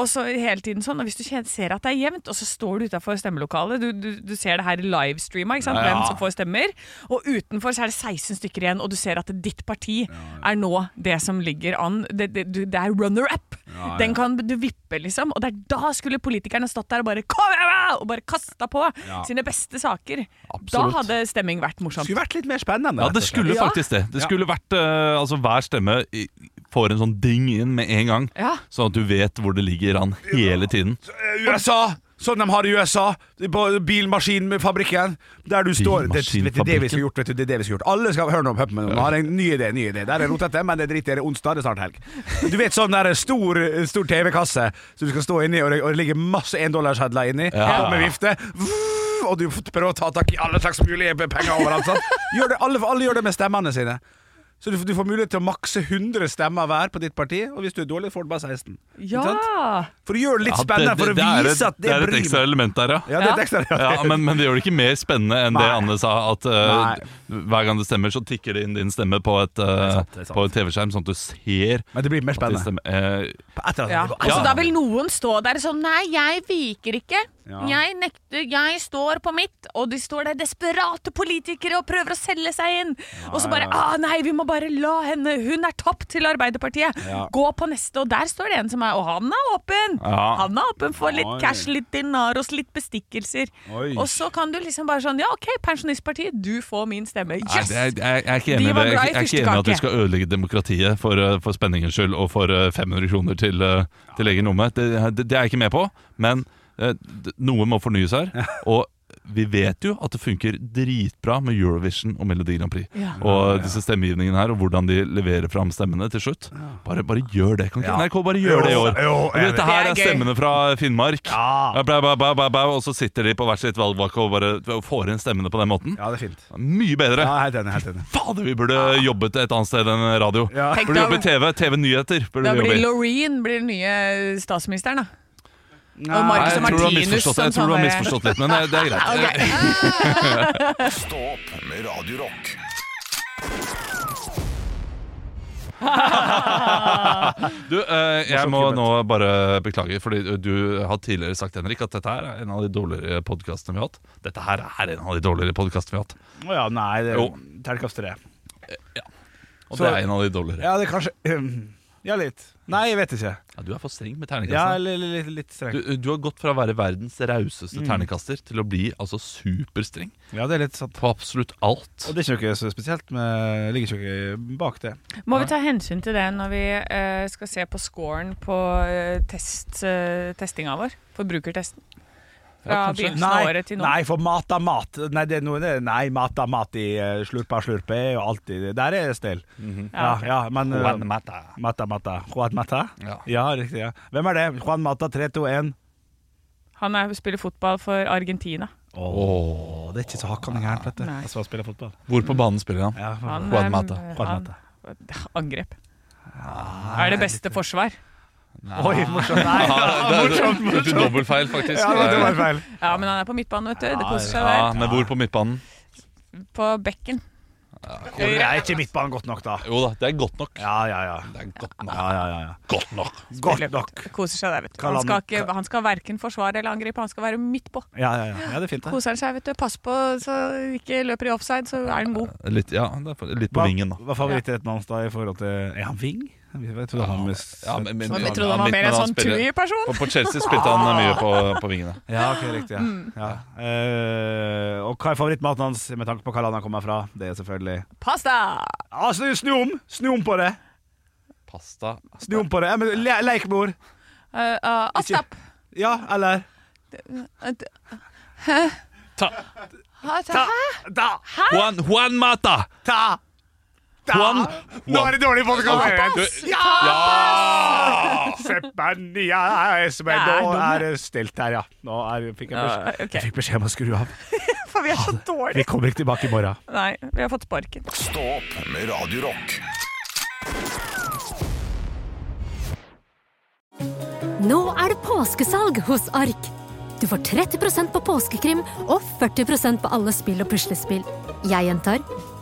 D: Og så hele tiden sånn. Og hvis du kjen- ser at det er jevnt, og så står du utafor stemmelokalet Du, du, du ser det her livestreama, ikke sant? hvem som får stemmer. Og utenfor så er det 16 stykker igjen, og du ser at ditt parti er nå det som ligger an. Det, det, du- det er runner-up. Den kan du vippe, liksom. Og det er da skulle politikerne stått der og bare Kom igjen!» Og bare kasta på sine beste saker.
B: Absolutt.
D: Da hadde stemming vært morsomt.
C: Skulle vært litt mer spennende.
B: Ja, det
C: rett og slett.
B: skulle
D: Ja.
B: faktisk det. Det skulle vært eh, Altså, hver stemme i- får en sånn ding inn med en gang,
D: Ja.
B: sånn at du vet hvor det ligger an hele tiden.
C: Eh, USA! Sånn de har i USA. På bilmaskinfabrikken. Der du står det, vet du, det vi skal gjort, vet du, det er det vi skal gjort. Alle skal høre noe om Puppen. Nå har jeg en ny idé. ny idé Der er rotete, men det driter jeg i. Onsdag det er snart helg. Du vet sånn der stor, stor TV-kasse som du skal stå inni, og det, og det ligger masse endollarsedler inni.
B: Ja.
C: Opp Med vifte. Vuh, Og du prøver å ta tak i alle slags mulige penger overalt. Sånn. Gjør det, alle, alle gjør det med stemmene sine. Så du, du får mulighet til å makse 100 stemmer hver på ditt parti, og hvis du er dårlig, får du bare 16. Ikke sant?
D: Ja!
C: For å gjøre det litt
B: Ja,
C: spennende,
B: det- det- det
C: for å
B: er
C: vise
B: et-
C: at det,
B: er et
C: bryr
B: ekstra
C: meg.
B: element der, ja.
C: Ja, det er et ekstra ja.
B: Ja, men, men det gjør det ikke mer spennende enn det
C: Nei.
B: Anne sa. At eh, hver gang du stemmer, så tikker det inn din stemme på et, eh,
C: sant, det er sant.
B: på en TV-skjerm, sånn at du ser
C: Men det blir mer
B: at din
C: spennende.
B: stemme eh,
C: Etter at-
D: Ja. Altså,
B: Ja.
D: Da vil noen stå der sånn Nei, jeg viker ikke.
C: Ja.
D: Jeg nekter. Jeg står på mitt. Og de står der desperate politikere og prøver å selge seg inn. og så bare ah, Nei, vi må bare la henne. Hun er tapt til Arbeiderpartiet.
C: Ja.
D: Gå på neste. Og der står det en som er Og han er åpen!
B: Ja.
D: Han er åpen for litt
C: Oi.
D: cash, litt dinaros, litt bestikkelser.
C: Oi.
D: Og så kan du liksom bare sånn Ja, OK, Pensjonistpartiet, du får min stemme.
B: Nei,
D: Yes!
B: det er, jeg, jeg er
D: De
B: ikke enig i
D: var glad i
B: det. Jeg, jeg er ikke enig i at vi
D: fyrstekake.
B: skal ødelegge demokratiet for, eh, for spenningens skyld og for eh, 500 kroner til, eh, til egen lomme. Det, det, det er jeg ikke med på, men eh, d- noe må fornyes her. [LAUGHS] Og vi vet jo at det funker dritbra med Eurovision og Melodi Grand Prix.
D: Ja.
B: Og disse stemmegivningene her, og hvordan de leverer fram stemmene til slutt. Bare, bare gjør det, kan ikke
C: Ja.
B: NRK bare gjør det i år?
C: Jo,
B: Og
C: jeg
B: dette her
D: Det er
B: er
D: gøy.
B: stemmene fra Finnmark.
C: Ja.
B: Ja, bla, bla, bla, bla, bla, Og så sitter de på hvert sitt valgvake og bare får inn stemmene på den måten.
C: Ja, det er fint.
B: Mye bedre.
C: Ja, helt enig. Helt enig.
B: [LAUGHS] Fader, vi burde jobbet et annet sted enn radio.
C: Ja.
D: Tenk
B: Burde
D: da-
B: jobbe i TV. TV-nyheter. burde
D: Da
B: vi jobbe
D: blir
B: i.
D: Loreen blir den nye statsministeren, da.
C: Nei.
D: Og
B: Nei,
D: Marcus
B: jeg
D: og
B: tror du har
D: Martinus
B: misforstått det. Jeg tror du har misforstått litt, men eh, det, det er greit.
D: [LAUGHS]
A: Stå opp med Radio Rock.
B: [LAUGHS] Du, eh, jeg må nå bare beklage, fordi du har tidligere sagt, Henrik, at dette her er en av de dårligere podkastene vi har hatt. Dette her er en av de dårligere podkastene vi har hatt.
C: Å ja, nei, det
B: Jo.
C: er terningkast tre.
B: Og
C: Så-
B: det er en av de dårligere.
C: Ja, det er kanskje ehm, Ja, litt. Nei, jeg vet ikke.
B: Ja, du er for streng med
C: Ja,
B: terningkastene.
C: litt, litt, litt
B: Du,
C: streng.
B: du har gått fra å være verdens rauseste terningkaster til å bli altså superstreng
C: Ja, det er litt sant.
B: på absolutt alt.
C: Og det er ikke noe så spesielt, men jeg ligger ikke noe bak det.
D: Må vi ta hensyn til det når vi eh, skal se på scoren på eh, test, eh, testinga vår? Forbrukertesten. fra
B: Ja, kanskje.
D: begynnelsen av
J: Nei,
D: året til nå.
J: nei, for mat er mat. Nei, det er noe, det, nei mat er mat i eh, slurpa slurpe er jo alltid Der er det stell. ja, ja, men eh,
B: Mhm. Juan Mata.
J: Mata Mata. Juan Mata?
B: Ja.
J: riktig. ja Hvem er det? Juan Mata 321.
D: Han er, spiller fotball for Argentina.
J: Å, det er ikke så hakkande gærent, vet du.
D: Nei.
J: Jeg skal spille fotball.
B: Hvor på banen spiller han?
J: Ja, for-
D: Han,
B: Juan
D: eh,
B: Mata.
J: Juan
D: han-
J: Mata.
D: [LAUGHS] Angrep.
B: Ah,
D: Er det beste forsvar.
J: Oi, morsomt. Nei,
B: Morsomt, morsomt! Dobbeltfeil, faktisk.
J: ja, det var feil.
D: Ja, men han er på midtbanen, vet du. Det koser seg
B: Ah, Ja,
D: der.
B: men hvor på midtbanen?
D: På bekken.
J: Jeg er ikke midtbanen godt nok, da.
B: Jo da, det er godt nok.
J: Ja, ja, ja.
B: Det er godt nok.
J: ja, ja, ja, ja.
B: Godt nok.
J: Godt nok.
D: Koser seg der, vet du.
J: Kall
D: Han skal,
J: han-
D: ikke, han skal verken forsvare eller angripe, han skal være midt på.
J: Ja, ja, ja. ja det er fint, det.
D: Koser han seg, vet du. Pass på så ikke løper i offside, så er han god.
B: Litt, ja, det er for- litt på vingen, da.
J: Hva er favorittretten hans da i forhold til Er han ving? Jeg tror han med
B: Ja, men-
D: Men
B: men- han-
D: vi trodde han var
B: litt,
D: mer en
B: men han
D: sånn
B: spiller-
D: tui-person.
B: På, på Chelsea spilte han mye på, på vingene.
J: Ja, ok, riktig. Ja. Ja. Eh, og hva er favorittmaten hans med tanke på hva land han kommer fra? Det er selvfølgelig
D: Pasta!
J: Ja, snu, snu om! Snu om på det!
B: Pasta
J: Snu om på det. Ja, men le Leik med ord.
D: Uh, uh, Astap.
J: Ja, eller
D: Eh, d-
B: Ta.
D: Hæ?
J: Ta!
D: Hæ?
J: Ta!
B: Juan, Juan Mata!
J: Ta! ta.
B: Juan,
J: Nå er det dårlig podkast!
B: Du-
J: Ja! Sepania es men
D: Det er
J: Nå
D: dumme.
J: er det stilt her, ja. Nå er, fikk jeg beskjed,
D: Ja, ok.
J: jeg fikk beskjed om å skru av.
D: For vi er så
J: Vi
D: dårlige.
J: kommer ikke tilbake i morgen.
D: Nei, vi har fått sparken.
K: Stå opp med Radio Rock.
L: Nå er det påskesalg hos Ark. Du får 30 på påskekrim og 40 på alle spill og puslespill. Jeg gjentar